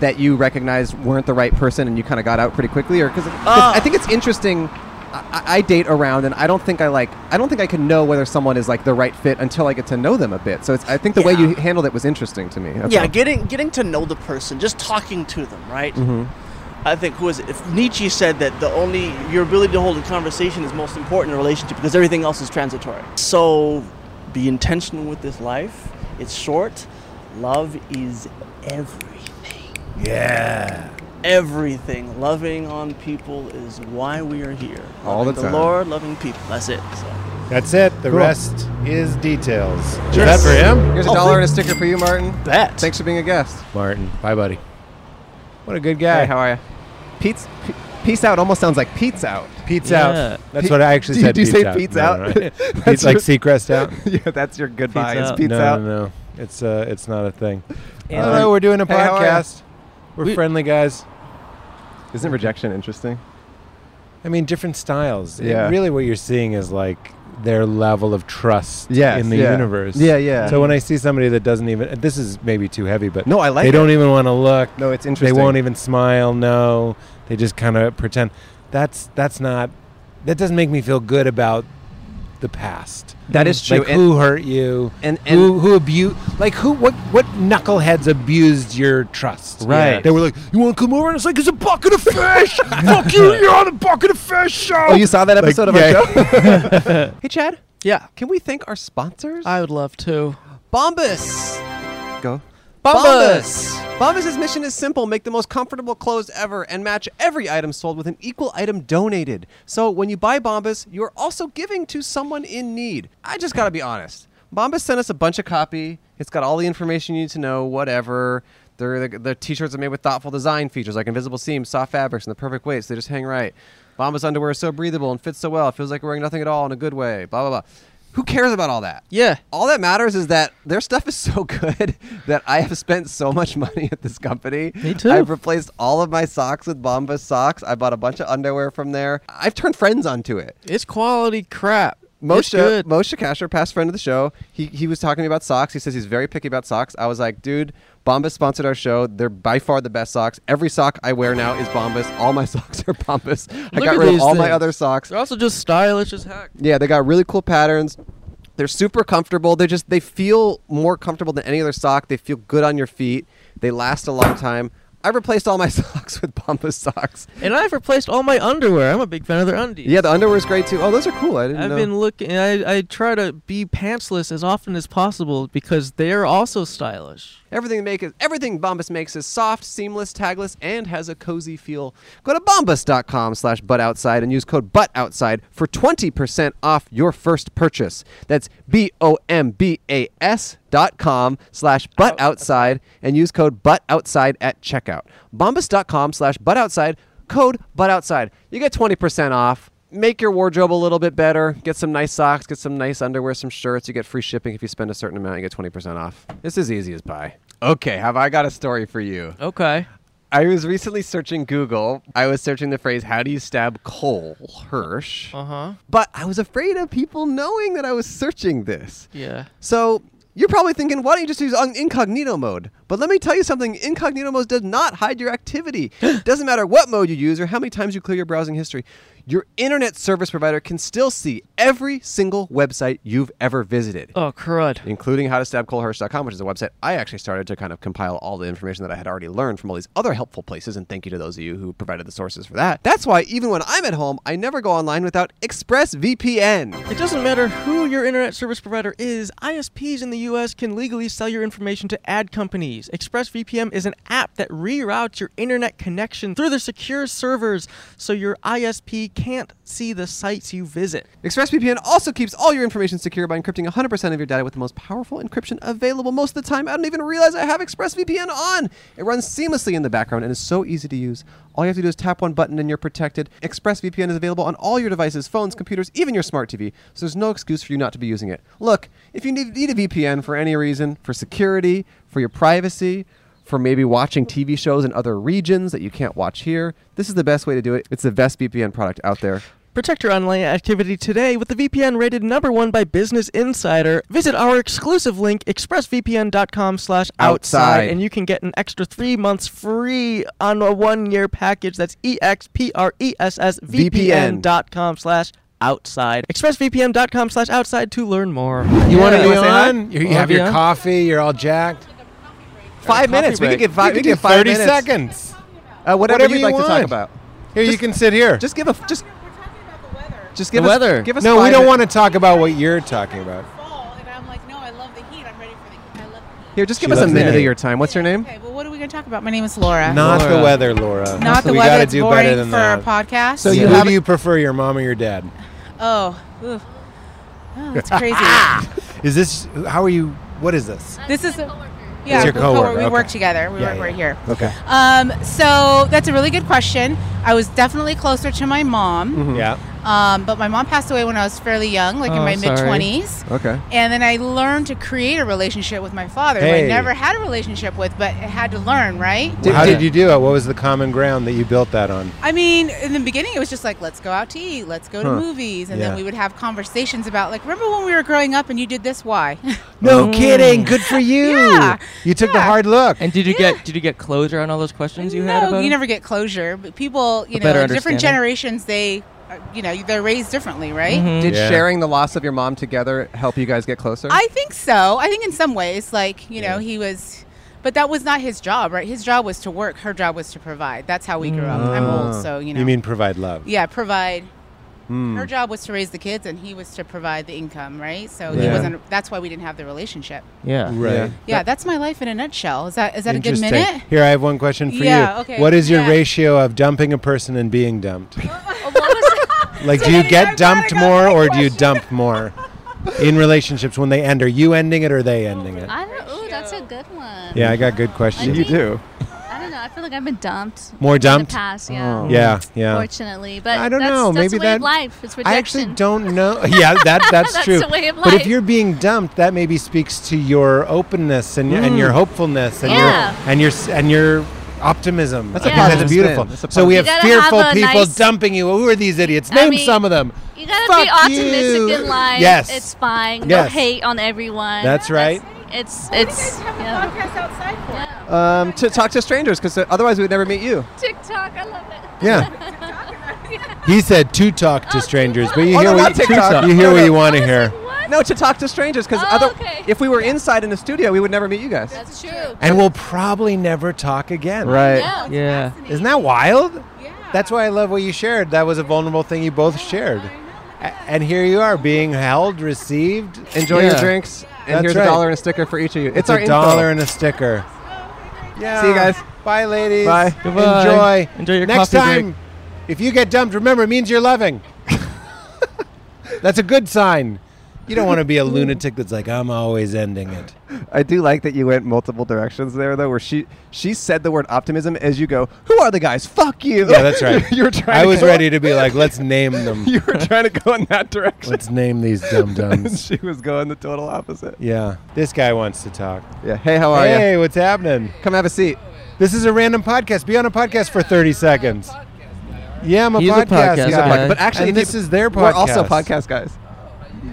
S2: that you recognized weren't the right person and you kind of got out pretty quickly or cuz
S3: Ah.
S2: I think it's interesting I, I date around and I don't think I like I don't think I can know whether someone is like the right fit until I get to know them a bit. So it's, I think the way
S3: Yeah.
S2: you handled it was interesting to me. That's
S3: yeah,
S2: all.
S3: getting getting to know the person, just talking to them, right?
S2: Mhm.
S3: I think who is it? If Nietzsche said that the only your ability to hold a conversation is most important in a relationship because everything else is transitory. So be intentional with this life. It's short. Love is everything.
S7: Yeah.
S3: Everything. Loving on people is why we are here.
S2: All the
S3: Loving
S2: time.
S3: The Lord, loving people. That's it. So.
S7: That's it. The
S2: Cool.
S7: rest is details. Is that
S3: Yes.
S7: for him?
S2: Here's a
S3: Oh,
S2: dollar and
S3: thank-
S2: a sticker for you, Martin.
S3: Bet.
S2: Thanks for being a guest.
S7: Martin. Bye, buddy. What a good guy.
S2: Hey, how are you? Pete's Pe- Peace out almost sounds like Pete's out.
S7: Pete's
S6: Yeah.
S7: out. That's what I actually
S2: <laughs> Do you-
S7: said.
S2: do you
S7: Pete's
S2: say
S7: out.
S2: Pete's
S7: No,
S2: <laughs> out?
S7: no, no.
S2: That's
S7: Pete's like
S2: what-
S7: Seacrest out.
S2: <laughs> yeah, that's your goodbye.
S6: Pete's
S2: It's
S6: out.
S2: Pete's
S7: no,
S2: out.
S7: no, no. It's uh, it's not a thing.
S6: And
S7: Hello, we're doing a
S2: Hey, how are ya?
S7: podcast. We're
S6: We-
S7: friendly guys.
S2: Isn't rejection interesting?
S7: I mean, different styles. It-
S2: Yeah.
S7: really, what you're seeing is like their level of trust
S2: Yes,
S7: in the
S2: yeah.
S7: universe.
S2: Yeah, yeah.
S7: So when I see somebody that doesn't even, this is maybe too heavy, but
S2: No, I like
S7: they
S2: it.
S7: don't even want to look.
S2: No, it's
S7: They
S2: interesting.
S7: won't even smile. No, they just kind of pretend. That's that's not. That doesn't make me feel good about the past.
S2: That is true.
S7: Like
S2: and-
S7: who hurt you?
S2: and-
S7: who who abused? Like who? What what knuckleheads abused your trust?
S2: Right.
S7: They were like, you want to come over? And it's like, it's a bucket of fish. <laughs> Fuck you! You're <gasps> on a bucket of fish uh, show.
S2: Oh, you saw that episode of our show?
S7: <laughs>
S6: Hey, Chad.
S2: Yeah. Can we thank our sponsors?
S6: I would love to.
S2: Bombas. Go.
S6: Bombas!
S2: Bombas' mission is simple make the most comfortable clothes ever and match every item sold with an equal item donated. So when you buy Bombas, you're also giving to someone in need. I just gotta be honest. Bombas sent us a bunch of copy. It's got all the information you need to know, whatever. They're, the, the t shirts are made with thoughtful design features like invisible seams, soft fabrics, and the perfect weights. They just hang right. Bombas underwear is so breathable and fits so well. It feels like wearing nothing at all in a good way. Blah, blah, blah. Who cares about all that?
S6: Yeah.
S2: all that matters is that their stuff is <laughs> so good that I have spent so much money at this company.
S6: Me too.
S2: I've replaced all of my socks with Bombas socks. I bought a bunch of underwear from there. I've turned friends onto it.
S6: It's quality crap. it's
S2: Moshe,
S6: good.
S2: Moshe Kasher, past friend of the show, he, he was talking to me about socks. He says he's very picky about socks. I was like, dude, Bombas sponsored our show. They're by far the best socks. Every sock I wear now is Bombas. All my <laughs> socks are Bombas. I
S6: Look
S2: got
S6: at
S2: rid of
S6: these
S2: all my
S6: things.
S2: other socks.
S6: They're also just stylish as heck.
S2: Yeah, they got really cool patterns. They're super comfortable. They just they feel more comfortable than any other sock. They feel good on your feet. They last a long time. I replaced all my <laughs> socks with Bombas socks.
S6: And I've replaced all my underwear. I'm a big fan of their undies.
S2: Yeah, the underwear is great too. Oh, those are cool. I didn't
S6: I've
S2: know.
S6: been looking. I, I try to be pantsless as often as possible because they are also stylish.
S2: Everything they make is everything Bombas makes is soft, seamless, tagless, and has a cozy feel. Go to bombas.com slash buttoutside and use code buttoutside for 20% off your first purchase. That's B-O-M-B-A-S dot com slash buttoutside and use code buttoutside at checkout. Bombas.com slash buttoutside, code buttoutside. You get 20% off. Make your wardrobe a little bit better. Get some nice socks, get some nice underwear, some shirts. You get free shipping if you spend a certain amount. You get 20% off. It's as easy as pie. Okay, have I got a story for you?
S6: Okay.
S2: I was recently searching Google. I was searching the phrase, how do you stab Cole Hirsch?
S6: Uh huh.
S2: But I was afraid of people knowing that I was searching this.
S6: Yeah.
S2: So You're probably thinking, why don't you just use un- incognito mode? But let me tell you something incognito mode does not hide your
S6: <gasps>
S2: activity. Doesn't matter what mode you use or how many times you clear your browsing history, your internet service provider can still see every single website you've ever visited
S6: Oh crud!
S2: including howtostabcolehersh.com, which is a website I actually started to kind of compile all the information that I had already learned from all these other helpful places. And thank you to those of you who provided the sources for that. That's why even when I'm at home, I never go online without ExpressVPN.
S6: It doesn't matter who your internet service provider is. ISPs in the U.S. can legally sell your information to ad companies. ExpressVPN is an app that reroutes your internet connection through their secure servers, so your ISP can't see the sites you visit.
S2: ExpressVPN also keeps all your information secure by encrypting 100% of your data with the most powerful encryption available. Most of the time, I don't even realize I have ExpressVPN on. It runs seamlessly in the background and is so easy to use. All you have to do is tap one button and you're protected. ExpressVPN is available on all your devices, phones, computers, even your smart TV, so there's no excuse for you not to be using it. Look, if you need, need a VPN for any reason, for security, for your privacy, for maybe watching TV shows in other regions that you can't watch here, this is the best way to do it. It's the best VPN product out there.
S6: Protect your online activity today with the VPN rated number one by Business Insider. Visit our exclusive link, expressvpn.com slash
S2: Outside.
S6: outside, and you can get an extra three months free on a one-year package. That's E E-X-P-R-E-S-S-V-P-N.com slash outside. expressvpn.com slash outside to learn more.
S7: You want to be
S2: you wanna say hi?
S7: on? You, you
S6: Wanna
S7: have
S6: be
S7: your
S6: on?
S7: coffee. You're all jacked.
S2: Five minutes. We
S6: break.
S2: can get five.
S7: You
S2: We
S7: can do
S2: can get five
S7: 30
S2: minutes.
S7: seconds.
S2: Uh, whatever,
S7: Whatever
S2: you'd
S7: you
S2: like to talk
S7: want.
S2: about.
S7: Here, you can sit here.
S2: Just give a just
S8: We're talking about the weather.
S2: just give
S7: the
S2: us
S7: weather.
S2: Give us
S7: no, we
S2: five
S7: don't
S2: min-
S7: want to talk about what you're talking about.
S8: Fall, and I'm like, no, I love the heat. I'm ready for the heat. I love the heat.
S2: Here, just give
S7: She
S2: us a
S7: loves
S2: minute
S7: me.
S2: of your time. What's your name?
S8: Okay, well, what are we going to talk about? My name is Laura.
S7: Not the
S2: Laura.
S7: weather, Laura.
S8: Not the
S7: we
S8: weather.
S7: gotta
S8: It's
S7: do
S8: boring
S7: better than
S8: for
S7: that.
S8: a podcast.
S7: So
S2: Yeah.
S7: you,
S2: Have
S7: who do you prefer, your mom or
S8: <laughs>
S7: your dad?
S8: oh, oof. oh,
S7: <laughs>
S8: that's crazy.
S7: Is this how are you? What is this?
S8: this is yeah.
S7: It's your
S8: we're co-worker.
S7: coworker,
S8: We
S7: okay.
S8: work together. We
S7: Yeah,
S8: work
S7: yeah.
S8: right here.
S7: Okay.
S8: Um, so that's a really good question. I was definitely closer to my mom,
S2: Mm-hmm.
S7: Yeah.
S8: um, but my mom passed away when I was fairly young, like in
S6: Oh,
S8: my
S6: sorry.
S8: mid twenties.
S2: Okay.
S8: And then I learned to create a relationship with my father, who
S7: Hey.
S8: I never had a relationship with, but I had to learn, right?
S7: Did,
S2: Wow.
S7: how did you do it? What was the common ground that you built that on?
S8: I mean, in the beginning, it was just like, let's go out to eat, let's go to movies. And
S7: Yeah.
S8: then we would have conversations about, like, remember when we were growing up and you did this? Why? <laughs>
S7: No
S6: Oh.
S7: kidding. Good for you.
S8: Mm. Yeah,
S7: You took the
S8: yeah.
S7: hard look.
S6: And did you get did you get closure on all those questions you
S8: no,
S6: had about?
S8: you
S6: it?
S8: never get closure. But people, you
S6: A
S8: know,
S6: better
S8: in different
S6: understanding.
S8: generations, they, uh, you know, they're raised differently, right?
S6: Mm-hmm.
S2: Did
S7: Mm-hmm. Yeah.
S2: sharing the loss of your mom together help you guys get closer?
S8: I think so. I think in some ways, like, you know, he was, but that was not his job, right? His job was to work, her job was to provide. That's how we grew up. I'm old, so, you know.
S7: Ah. Oh. You mean provide love?
S8: Yeah, provide.
S7: Hmm.
S8: Her job was to raise the kids, and he was to provide the income, right? So he
S7: Yeah.
S8: wasn't. That's why we didn't have the relationship.
S6: yeah.
S7: Right.
S2: Yeah.
S8: Yeah, that's my life in a nutshell. Is that is that a good
S7: Interesting.
S8: minute?
S7: Here, I have one question for
S8: Yeah,
S7: you.
S8: okay.
S7: What is your
S8: Yeah. Oh,
S7: ratio of dumping a person and being
S8: <laughs>
S7: dumped? <laughs> like,
S8: So
S7: do you
S8: many-
S7: get
S8: I'm glad I
S7: dumped
S8: got
S7: more
S8: that
S7: or do you
S8: question. <laughs>
S7: dump more in relationships when they end? Are you ending it or are they ending it?
S9: I don't. Ooh, that's a good one.
S7: Yeah, I got good questions.
S9: You
S2: do.
S9: I don't know. I feel like I've been dumped.
S7: More Oh.
S9: In
S7: dumped?
S9: the past, yeah.
S7: Yeah, yeah.
S9: Fortunately, but
S7: I don't
S9: that's,
S7: know.
S9: That's the
S7: Maybe
S9: way
S7: that-
S9: of life. It's rejection.
S7: I actually don't know. <laughs> Yeah,
S9: <laughs>
S7: that that's,
S9: That's
S7: true.
S9: the way of
S7: But if
S9: life.
S7: you're being dumped, that maybe speaks to your openness and, and your
S2: Mm.
S7: hopefulness and
S9: Yeah.
S7: your and your s- and your optimism.
S2: That's
S9: a
S7: I think
S9: positive
S7: that's beautiful.
S2: spin. That's a
S7: so we have
S9: positive- You gotta
S7: fearful
S9: have a
S7: people
S9: nice-
S7: dumping you. Who are these idiots?
S9: I
S7: Name
S9: mean,
S7: some
S9: <laughs>
S7: of them.
S9: You gotta be
S7: Fuck
S9: optimistic
S7: you.
S9: in life.
S7: Yes.
S9: It's fine. No
S7: Yes.
S9: hate on everyone.
S7: That's right.
S9: It's
S8: What
S9: it's
S8: do you guys have
S9: yeah.
S8: a podcast outside for?
S9: Yeah.
S2: Um, to talk to strangers, because otherwise we'd never meet you.
S9: TikTok. I love it.
S7: <laughs> Yeah. he said to talk
S9: Oh,
S7: to strangers, but
S9: to
S7: you
S9: talk.
S7: hear
S2: Oh, no,
S7: what
S2: not TikTok.
S7: you hear
S2: No,
S7: what
S2: no.
S7: you want
S9: I
S7: to
S9: was <laughs>
S7: hear.
S9: like, what?
S2: No, to talk to strangers, because
S9: Oh,
S2: other
S9: okay.
S2: if we were inside in a studio, we would never meet you guys.
S9: That's true.
S7: And we'll probably never talk again.
S9: Yeah.
S6: Yeah.
S7: Isn't that wild?
S8: Yeah.
S7: That's why I love what you shared. That was a vulnerable thing you both shared. A- And here you are being held, received.
S2: Enjoy your
S7: Yeah.
S2: drinks, and
S7: That's
S2: here's
S7: right.
S2: a dollar and a sticker for each of you. It's,
S7: It's,
S2: our
S7: a dollar
S2: Info.
S7: and a sticker. Yeah.
S2: See you guys.
S7: Bye, ladies.
S2: Bye.
S6: Goodbye.
S7: Enjoy.
S6: Enjoy your
S7: Next
S6: coffee
S7: time,
S6: break.
S7: if you get dumped, remember it means you're
S2: <laughs>
S7: loving. that's a good sign. You don't want to be a lunatic that's like, I'm always ending it.
S2: I do like that you went multiple directions there, though, where she she said the word optimism as you go. Who are the guys? Fuck you.
S7: Yeah, that's right.
S2: <laughs> you were trying.
S7: I
S2: to
S7: was
S2: go-
S7: ready to be like,
S2: <laughs>
S7: let's name them.
S2: You were trying to go in that direction.
S7: Let's name these dum
S2: and
S7: dums.
S2: she was going the total opposite.
S7: Yeah. This guy wants to talk.
S2: Yeah. Hey, how are
S7: hey,
S2: you?
S7: what's happening?
S2: Come have a seat.
S7: This is a random podcast. Be on a podcast for 30 seconds. Yeah, I'm a
S6: He's a
S7: podcast guy.
S6: podcast He's a podcast-
S2: But actually,
S7: And
S2: if
S7: this
S2: you-
S7: is their podcast.
S2: We're also podcast guys.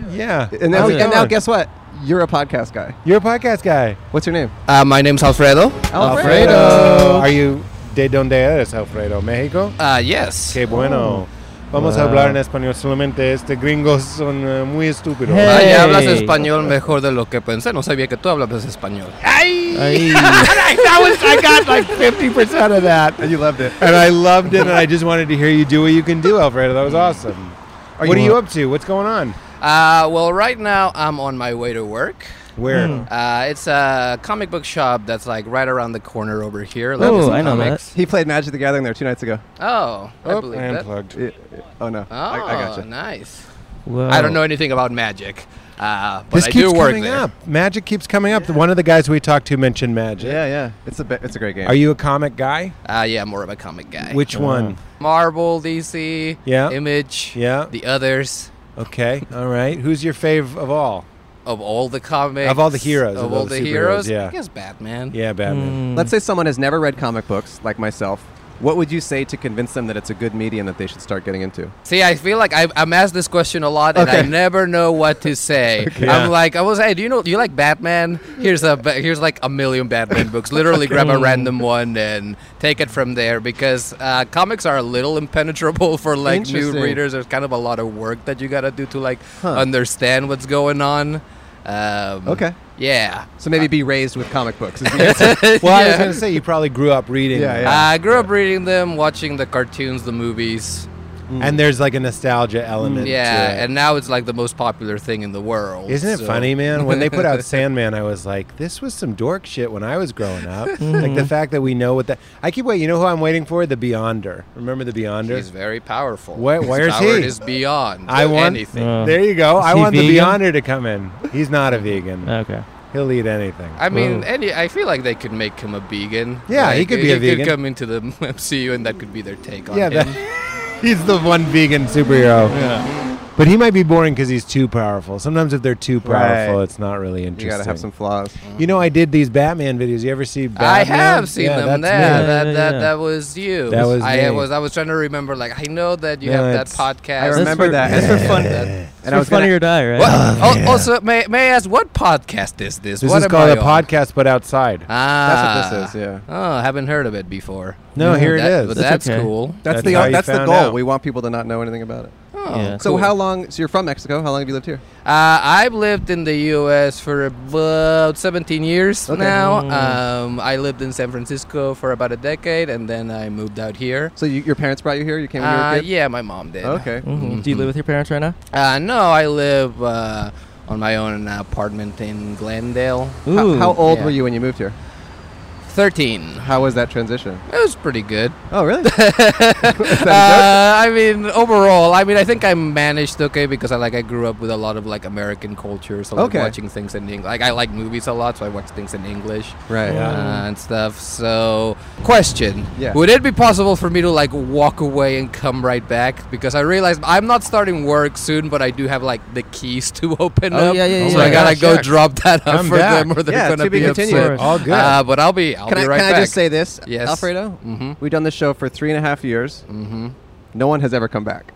S7: Yeah.
S2: And now,
S6: How's
S2: and
S6: it
S2: now
S6: going?
S2: guess what? You're a podcast guy.
S7: You're a podcast guy.
S2: What's your name?
S10: Uh, my name's Alfredo.
S2: Alfredo.
S7: Are you de donde eres, Alfredo? Mexico?
S10: Uh, yes.
S7: Qué bueno. Vamos a
S2: Wow.
S7: hablar en español solamente. Este gringos son eh, muy estúpidos.
S10: Ah,
S7: Ay,
S10: ya hablas
S7: Hey.
S10: español mejor de lo que pensé. No sabía que tú hablabas español.
S7: <laughs> Ay.
S10: that was, I got like 50% of that.
S2: And you loved it.
S7: and I loved it, and I just wanted to hear you do what you can do, Alfredo. That was awesome. what Mm. are you up to? What's going on?
S10: Uh, well, right now I'm on my way to work.
S7: Where?
S10: Uh, it's a comic book shop that's like right around the corner over here.
S6: Oh, I know
S2: He played Magic the Gathering there two nights ago.
S10: that. Oh, I
S7: Oh,
S10: believe
S7: and
S10: that.
S7: plugged.
S2: Yeah, yeah. Oh no.
S10: Oh,
S2: I, I gotcha.
S10: nice.
S6: Whoa.
S10: I don't know anything about magic, uh, but
S7: this
S10: I
S7: keeps
S10: do work
S7: coming
S10: there.
S7: up. Magic keeps coming up. One of the guys we talked to mentioned magic.
S2: Yeah, yeah. It's a be- it's a great game.
S7: Are you a comic guy?
S10: Uh, yeah, more of a comic guy.
S7: Which one?
S10: Marvel, DC,
S7: Yeah.
S10: Image,
S7: Yeah.
S10: the others
S7: Okay. All right. Who's your fave of all?
S10: of all the comics,
S7: Of all the heroes,
S10: of,
S7: of
S10: all
S7: those
S10: the
S7: superheroes,
S10: heroes.
S7: yeah.
S10: I guess Batman. Hmm.
S7: Yeah, Batman.
S2: Let's say someone has never read comic books like myself. What would you say to convince them that it's a good medium that they should start getting into?
S10: See, I feel like I, I'm asked this question a lot, and I
S2: Okay.
S10: never know what to say. I'm like, I was, hey, do you know, do you like Batman? Here's a, ba- here's like a million Batman books. Literally, grab a random one and take it from there because uh, comics are a little impenetrable for like new
S2: Interesting.
S10: readers. There's kind of a lot of work that you gotta do to like understand what's going on. Um,
S2: Okay.
S10: Yeah.
S2: So maybe be raised with comic books. is the
S10: <laughs>
S7: Well, I
S10: Yeah.
S7: was going to say you probably grew up reading.
S2: Yeah,
S7: them.
S2: yeah.
S10: I grew up reading them, watching the cartoons, the movies.
S7: Mm. And there's like a nostalgia element.
S10: Mm, Yeah,
S7: to it.
S10: and now it's like the most popular thing in the world.
S7: Isn't it
S10: so-
S7: funny, man? When they
S10: <laughs>
S7: put out Sandman, I was like, this was some dork shit when I was growing up. Like
S6: Mm-hmm.
S7: the fact that we know what that. I keep waiting. You know who I'm waiting for? The Beyonder. Remember the Beyonder?
S10: He's very powerful.
S7: Where-
S10: His
S7: where's
S10: power
S7: he?
S10: is beyond
S7: I want-
S10: anything.
S6: Uh,
S7: there you go. I
S6: he
S7: want the
S6: vegan?
S7: Beyonder to come in. He's not a vegan.
S6: Okay.
S7: He'll eat anything.
S10: I mean,
S6: Whoa.
S10: any. I feel like they could make him a vegan.
S7: Yeah, he
S10: Like,
S7: could be a vegan.
S10: Could come into the <laughs> MCU, and that could be their take on
S7: yeah,
S10: him.
S7: that- <laughs> he's the one vegan superhero. But he might be boring because he's too powerful. Sometimes if they're too powerful,
S2: Right.
S7: it's not really interesting.
S2: You gotta have some flaws.
S7: You know, I did these Batman videos. You ever see Batman?
S10: I have seen
S7: Yeah,
S10: them.
S7: that's
S10: There,
S7: me.
S10: that,
S6: Yeah, yeah,
S10: that
S6: yeah.
S10: that was you.
S7: That was
S10: I
S7: me.
S10: was. I was trying to remember. Like, I know that you
S7: No,
S10: have that
S7: it's-
S10: podcast.
S2: I remember
S6: for-
S2: that.
S6: that's
S2: and-
S6: for fun-
S10: That-
S2: And I was
S6: funny
S2: gonna,
S6: or
S7: <laughs>
S6: die, right? Uh,
S10: What? Al- Oh, Also, may, may I ask what podcast is this?
S7: This
S10: what
S7: is
S10: am
S7: called
S10: I
S7: a
S10: on?
S7: podcast, but outside.
S10: Ah,
S2: That's what this is. Yeah.
S10: Oh, haven't heard of it before.
S7: No, here it
S10: That-
S7: is.
S10: but
S6: That's
S10: That's
S6: okay.
S10: cool.
S2: That's,
S7: That's
S2: the
S7: how you
S2: that's the
S7: found
S2: goal.
S7: out.
S2: We want people to not know anything about it.
S10: Oh,
S6: Yeah.
S2: So
S10: cool.
S2: how long? So you're from Mexico. How long have you lived here?
S10: Uh, I've lived in the U.S. for about 17 years now.
S6: Mm.
S10: Um, I lived in San Francisco for about a decade, and then I moved out here.
S2: So you, your parents brought you here. You came when you were a
S10: Uh,
S2: kid.
S10: yeah, my mom did. Mm-hmm.
S2: Okay.
S6: Mhm. Do you live with your parents right now?
S10: Uh, no, I live uh, on my own apartment in Glendale.
S2: How, how old
S10: Yeah.
S2: were you when you moved here?
S10: 13.
S2: How was that transition?
S10: It was pretty good. <laughs>
S2: Oh, really?
S10: Uh, I mean, overall, I mean, I think I managed okay because I like I grew up with a lot of like American culture, so like
S2: Okay.
S10: watching things in English. Like I like movies a lot, so I watch things in English.
S2: right.
S10: uh, and stuff. So, question:
S2: Yeah.
S10: Would it be possible for me to like walk away and come right back? Because I realized I'm not starting work soon, but I do have like the keys to <laughs> open
S6: Oh,
S10: up.
S6: yeah, yeah,
S10: so
S6: yeah.
S10: I gotta
S7: Yeah,
S10: go
S7: sure.
S10: drop that up
S7: Come
S10: for
S7: back.
S10: them, or they're
S2: Yeah,
S10: gonna
S2: to be
S10: be
S2: continued.
S10: upset.
S7: All good.
S10: Uh, but I'll be. I'll be
S2: Can, I,
S10: right
S2: can
S10: back.
S2: I just say this,
S10: Yes. <laughs>
S2: Alfredo?
S10: Mhm.
S2: We've done the show for three and a half years.
S10: Mhm.
S2: No one has ever come
S10: <laughs>
S2: back.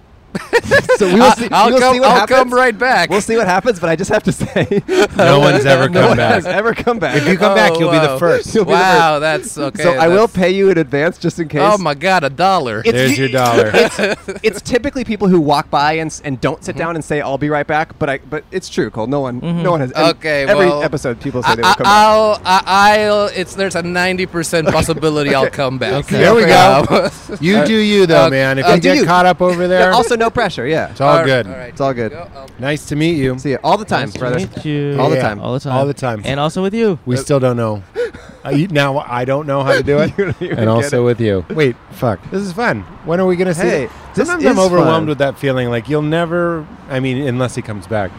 S2: so we will see.
S10: I'll,
S2: we'll
S10: come,
S2: see what
S10: I'll
S2: happens.
S10: come right back.
S2: We'll see what <laughs> happens, but I just have to
S10: <laughs>
S2: say,
S7: <laughs> No one's ever
S2: no
S7: come
S2: one
S7: back.
S2: has ever come back.
S7: If you come back,
S10: Oh,
S7: you'll be the
S10: wow.
S7: first.
S2: You'll be the
S10: Wow,
S7: <laughs>
S10: that's okay.
S2: so I will
S10: that's-
S2: pay you in advance just in case.
S10: Oh my god, a
S7: <laughs>
S10: dollar.
S2: It's
S7: There's
S2: you-
S7: your dollar.
S2: <laughs>
S7: <laughs>
S2: it's typically people who walk by and, s- and
S10: Mm-hmm.
S2: don't sit down and say I'll be right back. But I but it's true, Cole. No one no one has. and
S10: Okay,
S2: Every
S10: well,
S2: episode, people say
S10: I,
S2: they will come
S10: <laughs>
S2: back.
S10: will I, will It's there's a ninety percent possibility I'll come back.
S7: There we go.
S10: Um,
S7: You do you though,
S10: Uh,
S7: man.
S10: <laughs>
S7: If
S2: uh,
S7: you
S2: do
S7: get
S2: you-
S7: caught up
S2: <laughs>
S7: over there,
S2: Yeah, also, no pressure. Yeah.
S7: it's all,
S10: right,
S7: good.
S10: right,
S2: It's all good.
S10: go. Um, I'll-
S7: Nice to meet you.
S2: See you all the time, brother.
S6: Meet you.
S2: All the
S7: Yeah.
S2: time.
S6: All the time.
S7: All the time.
S6: And also with you.
S7: We still don't
S10: <laughs>
S7: know. Uh, you- now I don't know how to do
S2: <laughs>
S7: it, and also with you. Wait, fuck. This is fun. When are we gonna see?
S2: Hey,
S7: it?
S2: this
S7: Sometimes
S2: is
S7: I'm overwhelmed
S2: fun.
S7: with that feeling. Like you'll never. I mean, unless he comes back,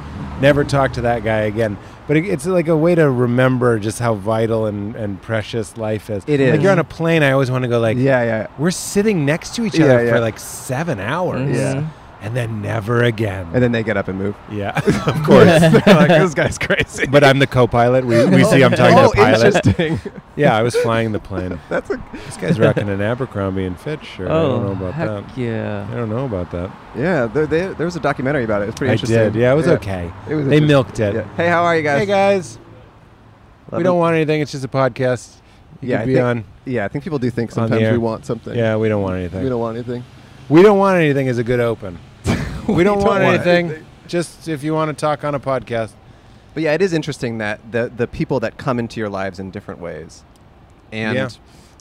S7: never talk to that guy again. But it, it's like a way to remember just how vital and, and precious life is.
S2: It
S7: Like
S2: is.
S7: you're on a plane. I always want to go like.
S2: Yeah, yeah.
S7: We're sitting next to each
S2: Yeah,
S7: other
S2: yeah.
S7: for like seven hours.
S2: Yeah.
S7: and then never again. And
S2: then they get up and move. <laughs>
S7: Yeah, of course. <laughs>
S2: They're like, "This <laughs> guy's crazy."
S7: But I'm the co-pilot. We, we see I'm talking
S2: Oh,
S7: to the pilot.
S2: <laughs> interesting.
S7: Yeah, I was flying the plane.
S2: <laughs> That's a-
S7: this guy's <laughs> rocking an Abercrombie and Fitch shirt. I don't
S6: Oh,
S7: know about
S6: heck
S7: that. Yeah, I don't know about that.
S2: Yeah, there, there, there was a documentary about it. It was pretty
S7: I
S2: interesting.
S7: did. Yeah, it was okay. They
S2: interesting.
S7: milked it.
S2: Yeah. Hey, how are you guys?
S7: Hey, guys.
S2: Love
S7: we don't
S2: it.
S7: want anything. It's just a podcast. You
S2: Yeah,
S7: could
S2: I
S7: be
S2: think-
S7: on.
S2: yeah, I think people do think
S7: on the
S2: sometimes we
S7: air.
S2: want something.
S7: Yeah, we don't want anything.
S2: We don't want anything.
S7: We don't want anything is a good
S2: <laughs>
S7: open. we, don't, want, anything. Just if you want to talk on a podcast.
S2: But yeah, it is interesting that the the people that come into your lives in different ways, and
S7: Yeah.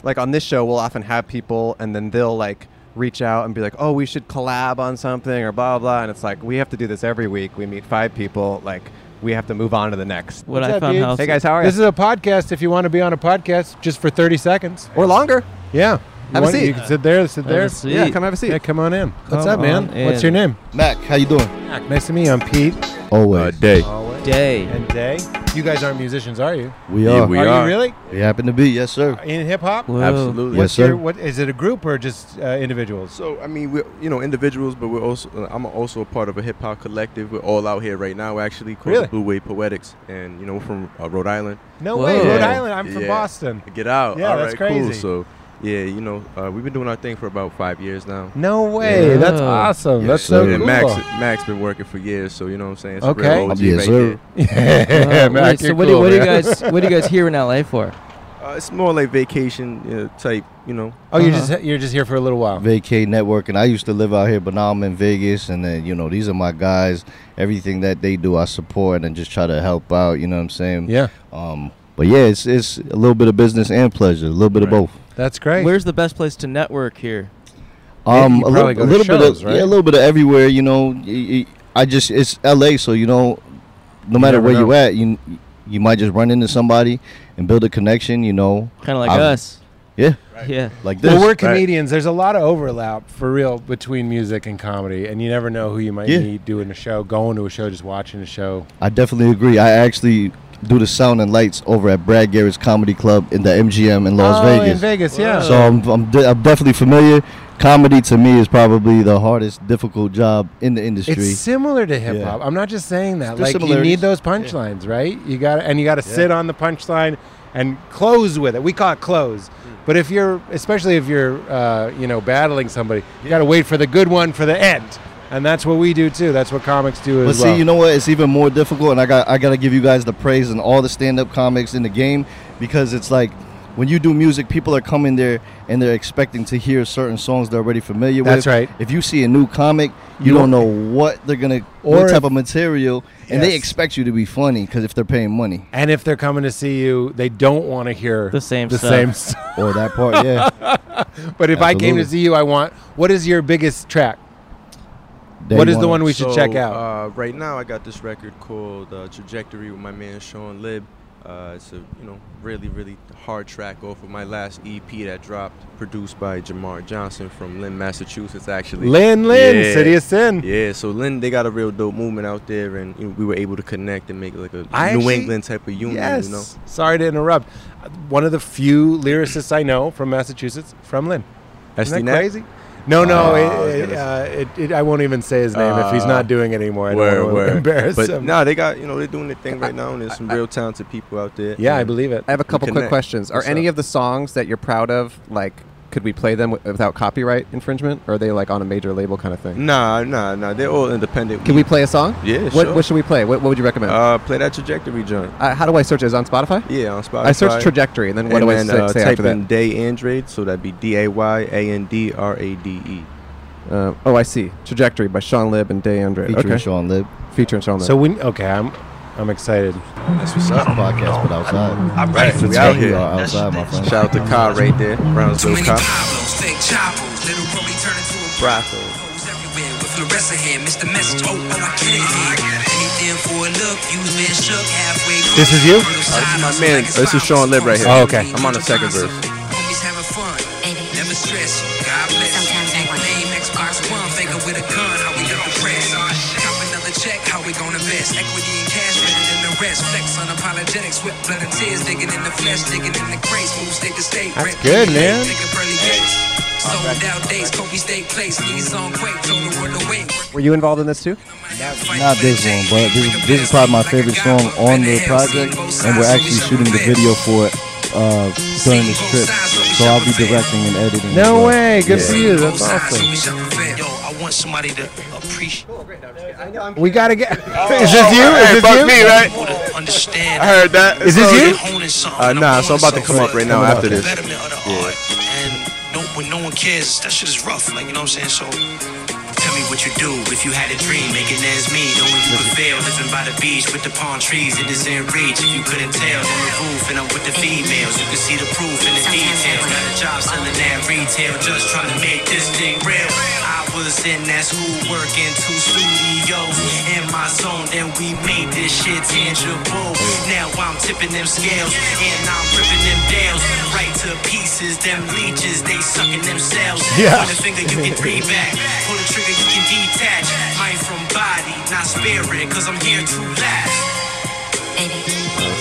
S2: like on this show, we'll often have people, and then they'll like reach out and be like, "Oh, we should collab on something," or blah blah. blah. And it's like we have to do this every week. We meet five people. Like we have to move on to the next.
S6: What I found
S2: Hey guys, how are you?
S7: This is a podcast. If you want to be on a podcast, just for thirty seconds
S2: or longer.
S7: Yeah.
S2: Have a
S7: One-
S2: seat.
S7: You can sit there. Sit
S2: Have a
S7: there.
S2: seat. Yeah, come have a seat.
S7: Yeah, come on in. What's
S2: Come
S7: up, man?
S2: on in.
S7: What's your name?
S11: Mac, how you doing?
S7: Mac, nice to meet you. I'm Pete.
S11: Always. Uh, day.
S7: Always.
S11: Day.
S7: And Day. You guys aren't musicians, are you?
S11: We are.
S7: are you really?
S11: We happen to be, yes, sir.
S7: In hip hop?
S11: Whoa. Absolutely.
S7: What's
S11: Yes, sir.
S7: Your, what is it? A group or just uh, individuals?
S12: So I mean, we're you know individuals, but we're also uh, I'm also a part of a hip hop collective. We're all out here right now, actually called
S7: Really?
S12: the Blue Wave Poetics, and you know we're from uh, Rhode Island.
S7: No way, Whoa. Rhode Island? I'm from Boston.
S12: Get out!
S7: Yeah,
S12: all
S7: that's
S12: right, cool.
S7: crazy.
S12: So yeah, you know uh, we've been doing our thing for about five years now.
S7: No way. That's awesome. That's so
S12: and
S7: cool.
S12: Max Max been working for years, so you know what I'm saying. It's a
S7: Okay.
S12: real OG
S7: Yes,
S12: right
S7: sir. <laughs>
S12: there.
S7: Yeah, Mac,
S6: Uh, Wait, so
S7: you're
S6: what do,
S7: cool,
S6: what do you
S7: man.
S6: guys what
S7: <laughs>
S6: do you guys here in LA for?
S12: Uh, it's more like vacation you know, type, you know. Uh-huh.
S7: Oh, you're just you're just here for a little while.
S11: Vacay Network, and I used to live out here, but now I'm in Vegas, and then you know these are my guys. Everything that they do, I support and just try to help out. You know what I'm saying?
S7: Yeah.
S11: Um, but yeah, it's it's a little bit of business and pleasure, a little bit of both.
S7: That's great.
S6: Where's the best place to network here?
S11: Um,
S6: You
S11: a little, a
S6: probably go to
S11: little bit
S6: shows,
S11: of
S6: right? <laughs>
S11: yeah, a little bit of everywhere. You know, Y- y- I just it's L.A., so you know, no matter
S6: never
S11: where
S6: know.
S11: you at, you you might just run into somebody and build a connection. You know,
S6: Kinda like
S11: I've-
S6: us.
S11: Yeah,
S6: Yeah.
S11: like this.
S7: Well, we're comedians. There's a lot of overlap for real between music and comedy, and you never know who you might
S11: Yeah.
S7: meet doing a show, going to a show, just watching a show.
S11: I definitely agree. I actually do the sound and lights over at Brad Garrett's Comedy Club in the MGM in Las
S7: Oh, in
S11: Vegas.
S7: Vegas, yeah.
S11: So I'm, I'm, de- I'm definitely familiar. Comedy to me is probably the hardest, difficult job in the industry.
S7: It's similar to hip hop. I'm not just saying that.
S11: There's
S7: Like you
S11: similarities.
S7: need those punchlines, right? You got to and you got to sit on the punchline and close with it. We call it close.
S11: Mm.
S7: But if you're, especially if you're, uh, you know, battling somebody, you got to wait for the good one for the end, and that's what we do too. That's what comics do
S11: But
S7: as
S11: see,
S7: well.
S11: you know what? It's even more difficult, and I got I gotta give you guys the praise and all the stand-up comics in the game because it's like when you do music, people are coming there and they're expecting to hear certain songs they're already familiar
S7: That's
S11: with.
S7: right.
S11: If you see a new comic, you,
S7: You
S11: don't
S7: don't-
S11: know what they're gonna
S7: Or
S11: what type
S7: if-
S11: of material, and they
S7: Yes.
S11: expect you to be funny because if they're paying money.
S7: and if they're coming to see you, they don't want to hear
S6: The same
S7: the
S11: <laughs>
S6: stuff.
S7: same stuff.
S11: Or that part, Oh, yeah.
S7: <laughs> But if I came
S11: Absolutely.
S7: to see you, I want what is your biggest track? what is the one we should
S12: So,
S7: check out?
S12: Uh, right now, I got this record called uh, "Trajectory" with my man Sean Lib. Uh, it's a you know really really hard track off of my last EP that dropped, produced by Jamar Johnson from Lynn, Massachusetts. Actually,
S7: Lynn, Lynn, City of Sin.
S12: Yeah, so Lynn, they got a real dope movement out there, and you know, we were able to connect and make like a
S7: I
S12: New
S7: actually-
S12: England type of union.
S7: Yes.
S12: You know,
S7: Sorry to interrupt. One of the few lyricists I know from Massachusetts, from Lynn.
S12: SD
S7: Isn't that
S12: Nat?
S7: crazy? No, no.
S12: Oh,
S7: it-
S12: I was
S7: it,
S12: gonna
S7: uh, it, it, I won't even say his name if he's
S12: Uh,
S7: not doing it anymore. I
S12: word,
S7: don't want to
S12: word.
S7: embarrass
S12: but
S7: him.
S12: no, they got you know they're doing their thing right now, and there's some real talented people out there. and
S2: I have a
S12: Hmm. we
S2: couple quick
S12: connect.
S2: questions. Are
S12: What's
S2: any
S12: up?
S2: of the songs that you're proud of like? Could we play them wi- without copyright infringement? Or are they like on a major label kind of thing?
S12: Nah, nah, nah. They're all independent.
S2: Can we play a song?
S12: Yeah,
S2: What,
S12: sure.
S2: what should we play? What, what would you recommend?
S12: Uh, play that trajectory joint.
S2: Uh, how do I search it? Is it on Spotify?
S12: Yeah, on Spotify.
S2: I search trajectory, and then what do I say,
S12: uh,
S2: say
S12: type
S2: after that?
S12: in Day Andrade, so that'd be D A Y A N D R A D E.
S2: Uh, oh, I see. Trajectory by Sean Lib and Day Andre.
S11: Featuring
S2: okay.
S11: Sean Lib.
S2: Featuring Sean Lib.
S7: So we okay. I'm I'm excited.
S12: That's what's up.
S11: Podcast, but outside.
S12: I'm ready
S11: That's
S12: for we out
S11: right, you
S12: here.
S11: are outside, my friend.
S12: Shout out to Kyle right there, Brownsville
S13: Too many
S12: Kyle.
S13: problems, think chapels. Little Romy turned into a
S12: Brothel.
S13: everywhere with Floressa here. Missed the message. Oh, oh, I get it. Anything for a look, you been shook halfway.
S7: This is you?
S13: Brutal silence,
S12: My man,
S13: like
S12: this Oh, is Sean Lib right here.
S7: Oh, okay.
S12: I'm on the second verse.
S13: Homies having fun. Never stress you. God bless. Take name, Xbox One. Faker with a gun. How we got the press. Cop another check. How we gonna invest? Equity and cash better than the rest. Flex unapologetics. Whip blood and tears. Digging in the flesh. Digging in the grace. Moves state to state.
S7: That's good, man.
S13: Take a pearly gates. Sold out days, Kobe stay placed. Knees on quake, told the world to wait.
S2: Were you involved in this too?
S11: Not this one, but this is, this is probably my favorite song on the project, and we're actually shooting the video for it uh, during this trip. So I'll be directing and editing.
S7: No
S11: as well.
S7: way, good for you. That's
S13: Yo, I want somebody to appreciate.
S7: We gotta get.
S13: Oh,
S7: is this you?
S13: oh,
S7: Is
S13: hey,
S7: this
S13: fuck
S7: you?
S13: me, right? Understand.
S14: I heard that.
S7: Is this you?
S14: Uh, nah, so I'm about to come up right now after this. Yeah.
S13: No, when no one cares, that shit is rough. Like you know what I'm saying? So tell me what you do if you had a dream, making ends meet. Only you could fail, living by the beach with the palm trees. It is in reach. If you couldn't tell, then the roof, and I'm with the females. You can see the proof in the details. Got a job selling that retail, just trying to make this thing real. I was in that school working two studios in my zone, then we made this shit tangible. Now I'm tipping them scales and I'm ripping them dales right to pieces. Them leeches, they sucking themselves.
S15: Yeah.
S13: Point a finger, you can three back. Pull the trigger, you can detach. Mind from body, not spirit, cause I'm here to last.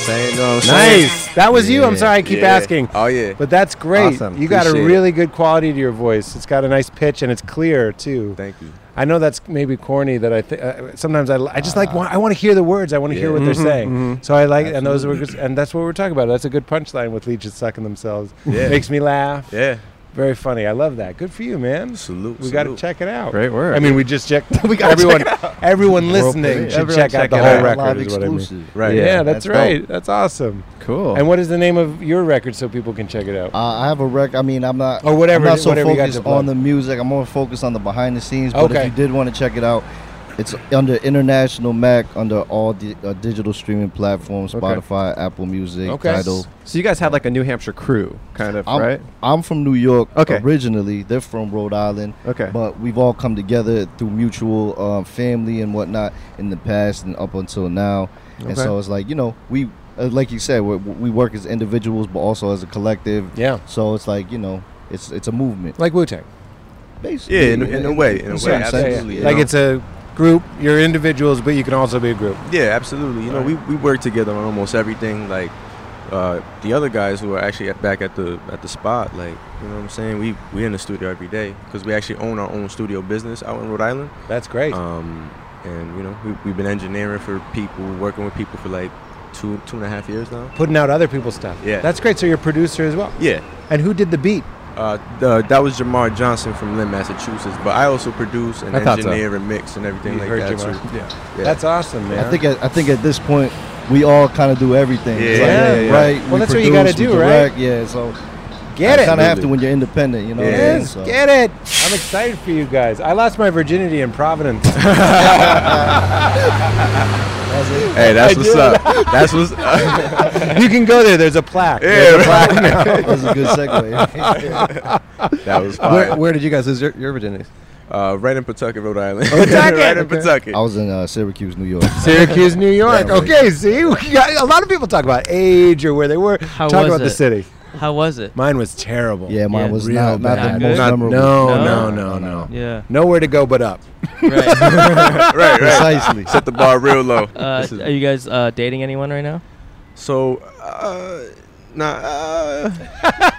S14: Saying, no, I'm saying.
S7: Nice. That was you. I'm
S14: Yeah,
S7: sorry I keep
S14: yeah.
S7: asking.
S14: Oh yeah.
S7: But that's great.
S14: Awesome.
S7: You got a
S14: Appreciate it.
S7: really good quality to your voice. It's got a nice pitch and it's clear too. Thank
S12: you.
S7: I know that's maybe corny that I think uh, sometimes I, li- I just like want, I want to hear the words. I want to hear
S12: Yeah.
S7: what they're
S12: Mhm,
S7: saying.
S12: mhm.
S7: So I like and those were just, and that's what we're talking about. That's a good punchline with leeches sucking themselves.
S12: Yeah.
S7: Makes me laugh.
S12: Yeah.
S7: Very funny. I love that. Good for you, man. Salute. We got to
S12: salute.
S7: check it out.
S12: Great work.
S7: I mean, we just checked.
S12: <laughs> We gotta check
S7: everyone.
S12: it out.
S7: Everyone
S12: World
S7: listening
S12: premiere.
S7: should
S12: Everyone
S7: check out
S12: check
S7: the
S12: it
S7: whole
S12: out.
S7: record.
S12: Live
S7: is what I mean.
S12: exclusive. Right.
S7: Yeah,
S12: Yeah,
S7: that's,
S12: that's
S7: right.
S12: dope.
S7: That's awesome.
S11: Cool.
S7: And what is the name of your record so people can check it out?
S11: Uh, I have a rec. I mean, I'm not
S7: Or whatever-
S11: I'm not so
S7: whatever you got to
S11: focused
S7: plug.
S11: on the music. I'm more focused on the behind the scenes. But
S7: Okay.
S11: if you did want to check it out, it's under International Mac under all the uh, digital streaming platforms:
S2: Okay.
S11: Spotify, Apple Music, Tidal.
S2: So you guys have like a New Hampshire crew, kind of,
S11: I'm,
S2: right?
S11: I'm from New York
S2: Okay.
S11: originally. They're from Rhode Island.
S2: Okay.
S11: But we've all come together through mutual um, family and whatnot in the past and up until now. And
S7: Okay.
S11: so it's like, you know, we, uh, like you said, we, we work as individuals, but also as a collective.
S7: Yeah.
S11: So it's like, you know, it's it's a movement.
S7: Like Wu Tang.
S11: Basically.
S14: Yeah, in- in a way, in a
S11: in
S14: way,
S11: certain sense.
S14: absolutely, you
S7: Like
S14: know.
S7: it's a group. You're individuals, but you can also be a group.
S12: Yeah, absolutely. You know, we, we work together on almost everything. Like uh, the other guys who are actually at, back at the at the spot, like you know what I'm saying. We we in the studio every day because we actually own our own studio business out in Rhode Island.
S7: That's great.
S12: Um, and you know we, we've been engineering for people, working with people for like two two and a half years now.
S7: Putting out other people's stuff.
S12: Yeah.
S7: That's great. So you're a producer as well.
S12: Yeah.
S7: And who did the beat?
S12: Uh, the, that was Jamar Johnson from Lynn, Massachusetts. But I also produce and
S7: I thought so.
S12: engineer and mix and everything
S7: You
S12: like
S7: heard
S12: that
S7: Jamar.
S12: too.
S7: Yeah. That's awesome, man.
S11: I think at, I think at this point we all kind of do everything. It's
S7: Yeah. Yeah, yeah.
S11: right.
S7: Well, that's what you gotta
S11: produce, we
S7: do, right?
S11: direct, Yeah, so
S7: Get it.
S11: Kind of have to when you're independent, you know. what I mean?
S7: Yes,
S11: So-
S7: get it. I'm excited for you guys. I lost my virginity in
S11: <laughs>
S7: Providence.
S12: Hey, that's
S7: I
S12: what's
S7: did.
S12: up. That's
S7: <laughs>
S12: what's up.
S7: you can go there. There's a plaque. There's a plaque <laughs> now. <laughs>
S12: that was fire.
S2: Where, where did you guys lose your, your virginities?
S12: Uh, right in Pawtucket, Rhode Island.
S7: Pawtucket,
S12: <laughs> right
S7: Oh,
S12: in
S7: okay.
S12: Pawtucket.
S11: I was in uh, Syracuse, New York.
S7: Syracuse, New York.
S11: Yeah, right.
S7: Okay, see, we got- a lot of people talk about age or where they were. talk
S6: was
S7: about the
S6: it?
S7: city.
S6: How was it?
S7: Mine was terrible.
S11: Yeah, mine
S6: Yeah.
S11: was
S7: Real
S11: not, not the
S7: bad.
S11: most
S7: Not-
S11: memorable.
S7: No, no, no, no.
S6: Yeah.
S7: Nowhere to go but
S6: <laughs>
S7: up. <laughs>
S12: <laughs> right, right.
S11: Precisely.
S12: Set the bar real low.
S6: Uh,
S12: This is-
S6: are you guys uh, dating anyone right now?
S12: so, uh, nah. Uh,
S9: <laughs>
S12: you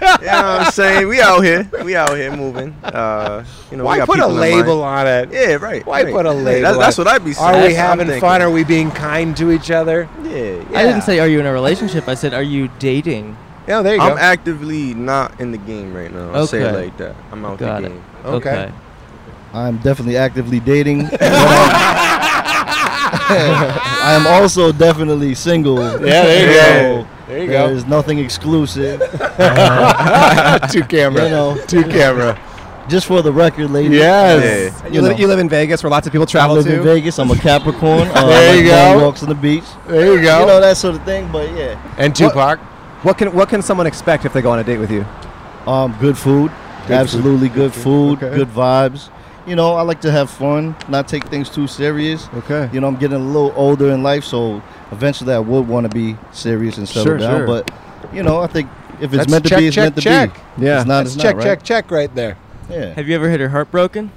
S12: know what I'm saying? We out here. We out here moving. Uh, you know, we
S7: Why
S12: got
S7: put a
S12: people in mind.
S7: label on it?
S12: Yeah, right.
S7: Why
S12: right.
S7: put a
S12: Hey,
S7: label?
S12: that's-
S7: on
S12: that's
S7: it?
S12: what I'd be
S7: Are we
S12: saying. I'm
S7: having
S12: thinking.
S7: fun? Are we being kind to each other?
S12: Yeah,
S6: I didn't say are you in a relationship. I said are you dating?
S7: Yeah, there you
S12: I'm
S7: go.
S12: actively not in the game right now. I'll say it
S6: Okay.
S12: like that. I'm out
S6: Got
S12: the
S6: it.
S12: game.
S6: Okay. Okay.
S11: I'm definitely actively
S7: <laughs>
S11: dating. <laughs> But I'm- I am also definitely single.
S7: Yeah, there you go.
S11: So
S7: There you go.
S11: There's nothing exclusive.
S7: <laughs> Two camera.
S11: You know.
S7: Two camera.
S11: Just for the record, ladies.
S7: Yes.
S11: uh,
S2: You, live, you live in Vegas where lots of people
S11: I
S2: travel
S11: live
S2: to?
S11: in Vegas. I'm a
S2: <laughs>
S11: Capricorn. Uh,
S2: There
S11: I
S2: you
S11: like long
S2: go.
S11: Walks on the beach.
S7: There you go.
S11: You know that sort of thing. But yeah,
S7: And Tupac.
S2: What can what can someone expect if they go on a date with you?
S11: um, good food.
S2: Good
S11: Absolutely good food.
S2: Okay.
S11: Good vibes. You know, I like to have fun, not take things too serious.
S2: Okay.
S11: You know, I'm getting a little older in life, so eventually I would want to be serious and settle
S2: Sure,
S11: down.
S2: sure.
S11: But you know, I think if it's
S7: That's
S11: meant to
S7: check,
S11: be, it's
S7: check,
S11: meant to
S7: check.
S11: be.
S2: Yeah.
S11: It's not.
S7: That's
S11: it's not,
S7: check,
S11: right?
S7: check, check right there.
S11: Yeah.
S6: Have you ever had your heart broken?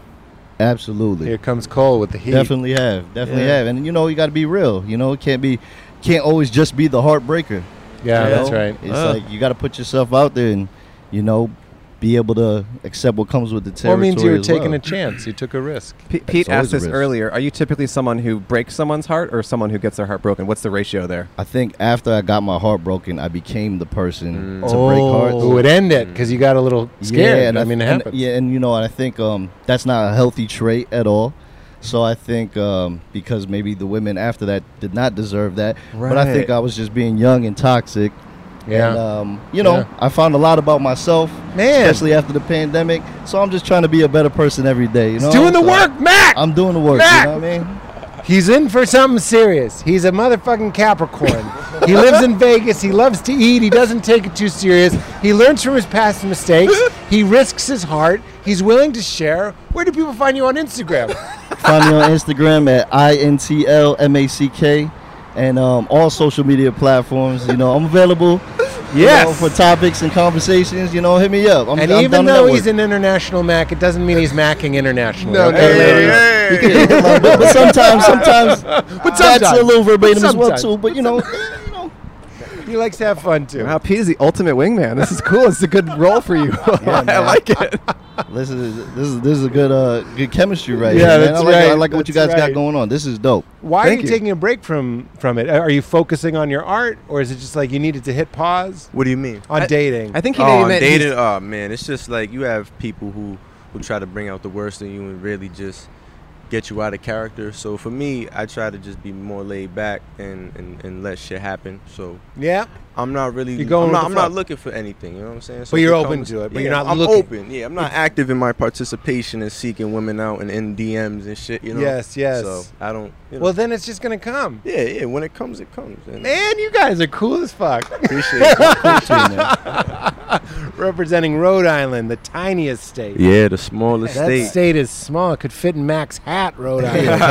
S11: Absolutely.
S7: Here comes Cole with the heat.
S11: Definitely have. Definitely
S7: Yeah.
S11: have. And you know, you got to be real. You know, it can't be, can't always just be the heartbreaker.
S7: Yeah,
S11: you
S7: that's
S11: know?
S7: right.
S11: It's
S7: Ugh.
S11: like you got to put yourself out there and, you know, be able to accept what comes with the
S7: Well, it
S11: territory.
S7: means you were
S11: as
S7: taking
S11: well.
S7: a
S11: <laughs>
S7: chance. You took a risk.
S2: P- Pete
S11: always
S2: asked
S11: a
S2: this
S11: risk.
S2: earlier. Are you typically someone who breaks someone's heart or someone who gets their heart broken? What's the ratio there?
S11: I think after I got my heart broken, I became the person to break
S7: Oh.
S11: hearts.
S7: Who would end it because you got a little scared. I, mean, it
S11: and-
S7: happens.
S11: yeah, and you know, and I think um, that's not a healthy trait at all. So I think um, because maybe the women after that did not deserve that, but I think
S7: Right.
S11: I was just being young and toxic.
S7: Yeah.
S11: And, um, you know,
S7: Yeah.
S11: I found a lot about myself,
S7: Man.
S11: especially after the pandemic. So I'm just trying to be a better person every day. You
S7: He's
S11: know,
S7: doing the
S11: So
S7: work, Mac.
S11: I'm doing the work.
S7: Mac!
S11: You know what I mean?
S7: He's in for something serious. He's a motherfucking Capricorn. he lives in Vegas. He loves to eat. He doesn't take it too serious. He learns from his past mistakes. He risks his heart. He's willing to share. Where do people find you on Instagram?
S11: Find me on Instagram at intlmack and um, all social media platforms. You know, I'm available. you
S7: Yes.
S11: know, for topics and conversations. You know, hit me up. I'm,
S7: and
S11: I'm
S7: even
S11: down to
S7: though
S11: network.
S7: he's an international Mac, it doesn't mean he's macking internationally.
S11: No, no,
S7: okay?
S11: no, no, no. You can- <laughs> but, but sometimes, sometimes,
S7: <laughs> But
S11: that's
S7: sometimes.
S11: a little verbatim
S7: But
S11: as well
S7: sometimes.
S11: too. But you know,
S7: Mm. he likes to have fun too.
S2: Wow, Pete is the ultimate wingman. This is cool. It's a good role
S11: <laughs>
S2: for you. <laughs> I like it.
S11: this is this is this is a good uh good chemistry right here.
S7: Yeah,
S11: man.
S7: that's
S11: I like, I
S7: right.
S11: like what you
S7: That's
S11: guys got
S7: right.
S11: going on. This is dope.
S7: Why are you, taking a break from from it? Are you focusing on your art, or is it just like you needed to hit pause?
S12: What do you mean?
S7: On dating.
S12: oh, on dating. Oh man, it's just like you have people who who try to bring out the worst in you and really just get you out of character. So for me, I try to just be more laid back and and, and let shit happen. So
S7: Yeah.
S12: I'm not really.
S7: You're going
S12: I'm,
S7: with
S12: not,
S7: the
S12: I'm
S7: flow.
S12: not looking for anything. You know what I'm saying?
S7: But you're
S12: if it
S7: open
S12: comes-
S7: to it, but
S12: yeah,
S7: you're not
S12: I'm
S7: looking.
S12: open. Yeah, I'm not active in my participation in seeking women out and in DMs and shit. You know.
S7: Yes, yes.
S12: So I don't. You know.
S7: Well, then it's just gonna come.
S12: Yeah, yeah. When it comes, it comes. And
S7: Man, you guys are cool as fuck. <laughs>
S12: Appreciate it. Appreciate
S7: Representing Rhode Island, the tiniest state.
S12: Yeah, the smallest
S7: that
S12: state.
S7: is small. It could fit in Mac's hat, Rhode
S2: <laughs>
S7: Island.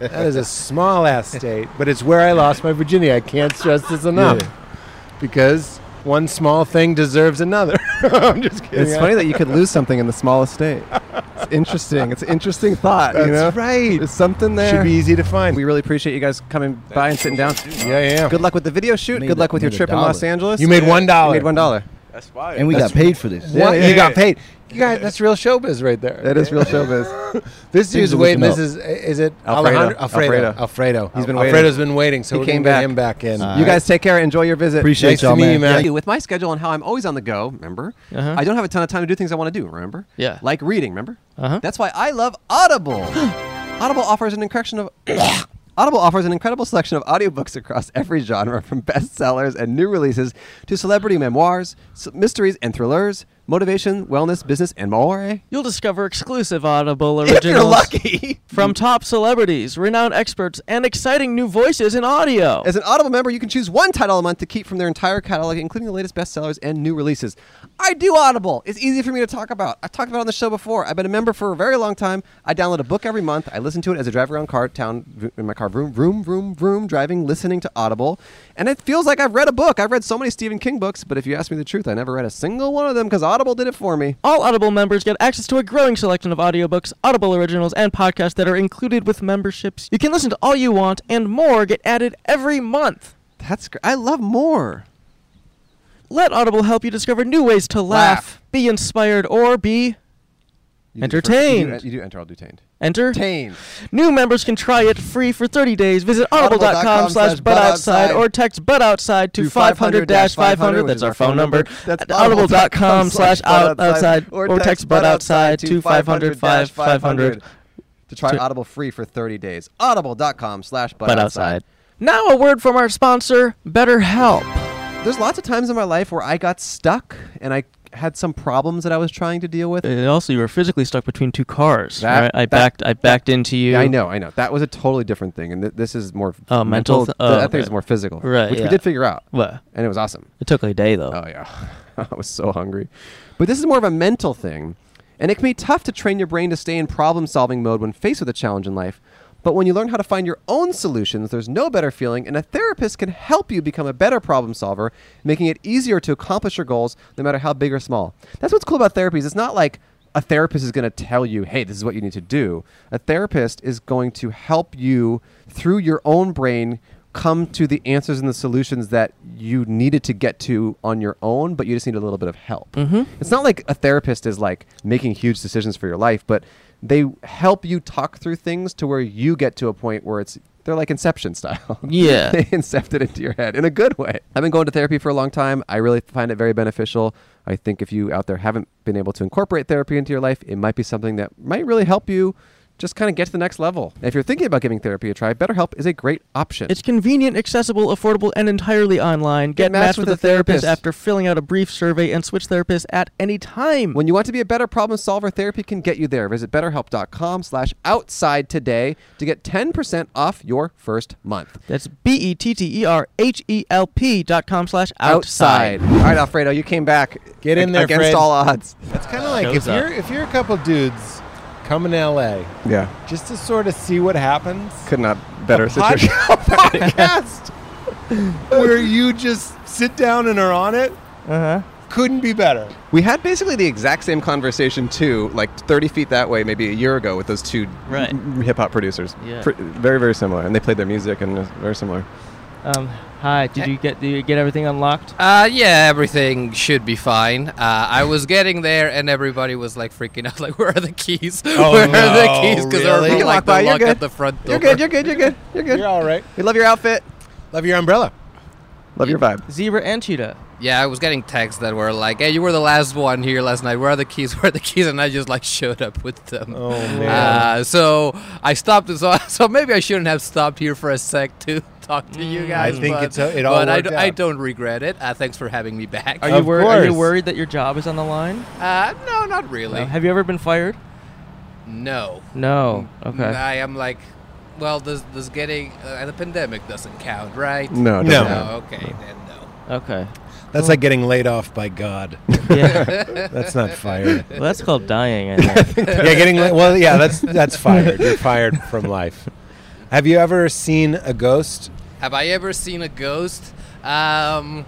S7: that is a small ass state, but it's where I lost my virginity. I can't stress this enough
S2: Yeah.
S7: because one small thing deserves another. <laughs> I'm just kidding.
S2: It's funny that you could lose something in the
S7: <laughs>
S2: smallest state. It's interesting. It's an interesting thought. you know?
S7: That's right.
S2: There's something there.
S7: Should be easy to find.
S2: We really appreciate you guys coming by and sitting down.
S7: Yeah, yeah.
S2: Good luck with the video shoot.
S7: Made
S2: Good
S7: a-
S2: luck with your
S7: made a
S2: trip in
S7: dollar.
S2: Los Angeles.
S7: You made
S2: Yeah.
S7: one dollar.
S2: You made one dollar.
S12: That's fire.
S11: And we got paid for this.
S7: What?
S2: Yeah, yeah,
S7: you got
S2: yeah.
S7: paid. You guys, that's real showbiz right there.
S2: That is real
S7: <laughs>
S2: showbiz.
S7: this
S2: Things
S7: dude's
S2: are
S7: waiting.
S2: looking
S7: This
S2: up.
S7: is is it
S2: Alfredo.
S7: Alejandro- Alfredo.
S2: Alfredo.
S7: Alfredo.
S2: He's been waiting.
S7: Alfredo's been waiting, so
S2: He
S7: we're
S2: came
S7: gonna
S2: back.
S7: get him back in.
S2: You guys take care. Enjoy your visit.
S7: Appreciate Nice to y'all, meet man. you, man.
S2: Thank you. With my schedule and how I'm always on the go, remember?
S6: Uh-huh.
S2: I don't have a ton of time to do things I want to do, remember?
S6: Yeah.
S2: Like reading, remember?
S6: Uh-huh.
S2: That's why I love Audible. <gasps> Audible offers an increction of <coughs> Audible offers an incredible selection of audiobooks across every genre, from bestsellers and new releases to celebrity memoirs, s- mysteries and thrillers, motivation, wellness, business, and more.
S6: You'll discover exclusive Audible
S2: If
S6: originals
S2: you're lucky.
S6: from top celebrities, renowned experts, and exciting new voices in audio.
S2: As an Audible member, you can choose one title a month to keep from their entire catalog, including the latest bestsellers and new releases. I do Audible. It's easy for me to talk about. I've talked about it on the show before. I've been a member for a very long time. I download a book every month. I listen to it as I drive around car town in my car, vroom, vroom, vroom, vroom, driving, listening to Audible, and it feels like I've read a book. I've read so many Stephen King books, but if you ask me the truth, I never read a single one of them because Audible did it for me.
S6: All Audible members get access to a growing selection of audiobooks, Audible originals, and podcasts that are included with memberships. You can listen to all you want and more get added every month.
S2: That's great. I love more.
S6: Let Audible help you discover new ways to laugh,
S2: Laugh.
S6: be inspired, or be
S2: You do first-
S6: entertained.
S2: You do, you do enter. I'll do tained.
S6: Enter.
S2: Tained.
S6: New members can try it free for 30 days. Visit
S2: Audible.com
S6: audible.com slash
S2: slash butt
S6: outside
S2: outside.
S6: or text butt outside to 500 500.
S2: which
S6: That's
S2: is
S6: our phone number.
S2: That's
S6: At audible.com slash out outside or text butt outside to 500 500.
S2: 500 to try Audible free for 30 days. Audible.com slash
S6: Butt
S2: butt
S6: outside.
S2: outside.
S6: Now, a word from our sponsor, BetterHelp.
S2: There's lots of times in my life where I got stuck and I had some problems that I was trying to deal with.
S6: Uh, also, you were physically stuck between two cars.
S2: That-
S6: right? I
S2: that-
S6: backed. I backed into you.
S2: Yeah, I know, I know. That was a totally different thing, and th- this is more
S6: Oh, mental.
S2: th-
S6: th- oh,
S2: I think
S6: okay.
S2: it's more physical,
S6: Right.
S2: Which
S6: yeah.
S2: we did figure out.
S6: What?
S2: and it was awesome.
S6: It took a day though.
S2: Oh yeah, <laughs> I was so hungry. But this is more of a mental thing, and it can be tough to train your brain to stay in problem-solving mode when faced with a challenge in life. But when you learn how to find your own solutions, there's no better feeling, and a therapist can help you become a better problem solver, making it easier to accomplish your goals, no matter how big or small. That's what's cool about therapy. Is it's not like a therapist is going to tell you, hey, this is what you need to do. A therapist is going to help you through your own brain come to the answers and the solutions that you needed to get to on your own, but you just need a little bit of help.
S6: Mhm.
S2: It's not like a therapist is like making huge decisions for your life, but they help you talk through things to where you get to a point where it's they're like inception style. <laughs>
S6: Yeah.
S2: they incept it into your head in a good way. I've been going to therapy for a long time. I really find it very beneficial. I think if you out there haven't been able to incorporate therapy into your life, it might be something that might really help you just kind of get to the next level. If you're thinking about giving therapy a try, BetterHelp is a great option.
S6: It's convenient, accessible, affordable, and entirely online. Get, matched, with a therapist, after filling out a brief survey and switch therapists at any time.
S2: When you want to be a better problem solver, therapy can get you there. Visit betterhelp.com slash outside today to get 10% off your first month.
S6: That's E B-E-T-T-E-R-H-E-L-P E dot com slash outside.
S2: Outside. All right, Alfredo, you came back.
S7: Get in there,
S2: Against
S7: Fred.
S2: all odds.
S7: That's kind of like if you're if you're a couple dudes coming to LA,
S2: Yeah.
S7: just to sort of see what happens.
S2: Could not better
S7: a
S2: situation. <laughs>
S10: <laughs>
S7: podcast <laughs> where you just sit down and are on it.
S10: Uh-huh.
S6: Uh huh.
S7: Couldn't be better.
S2: We had basically the exact same conversation too, like 30 feet that way, maybe a year ago, with those two
S6: Right.
S2: hip hop producers.
S6: Yeah.
S2: Pr- very, very similar, and they played their music, and it's very similar.
S6: Um, hi, did you get did you get everything unlocked?
S10: Eh. Uh, yeah, everything should be fine. Uh, I was getting there, and everybody was like freaking out, <laughs> like, "Where are the keys?
S7: Oh,
S10: <laughs> Where are
S7: no,
S10: the keys?" Because
S7: really?
S10: they
S7: You
S10: were
S7: can
S10: from, like
S7: walk by,
S10: the
S7: you're
S10: lock
S7: good.
S10: at the front door.
S2: You're good. You're good. You're good. You're good.
S7: You're all right.
S2: We love your outfit.
S7: Love your umbrella.
S2: Love your vibe.
S6: Zebra and cheetah.
S10: Yeah, I was getting texts that were like, "Hey, you were the last one here last night. Where are the keys? <laughs> Where are the keys?" And I just like showed up with them. Oh
S7: man.
S10: Uh, so I stopped. So <laughs> so maybe I shouldn't have stopped here for a sec to <laughs> talk to
S6: Mm.
S10: you guys.
S7: think
S10: but,
S7: it's- uh, it all
S10: But I,
S7: worked
S10: d- I
S7: out.
S10: don't regret it. Uh, thanks for having me back.
S6: Are you wor- are you worried that your job is on the line?
S10: Uh, no, not really.
S6: Uh, have you ever been fired?
S10: No.
S6: No.
S2: Mm.
S6: Okay.
S10: I am like, well, this this getting uh, the pandemic doesn't count, right?
S7: No, it doesn't No. count.
S10: okay, then no.
S6: Okay.
S7: That's like getting laid off by God. <laughs>
S6: Yeah.
S7: that's not fired.
S6: Well, that's called dying. I
S7: <laughs>
S6: think.
S7: yeah, getting la- well. Yeah, that's that's fired. You're fired from life. Have you ever seen a ghost?
S10: Have I ever seen a ghost? Um,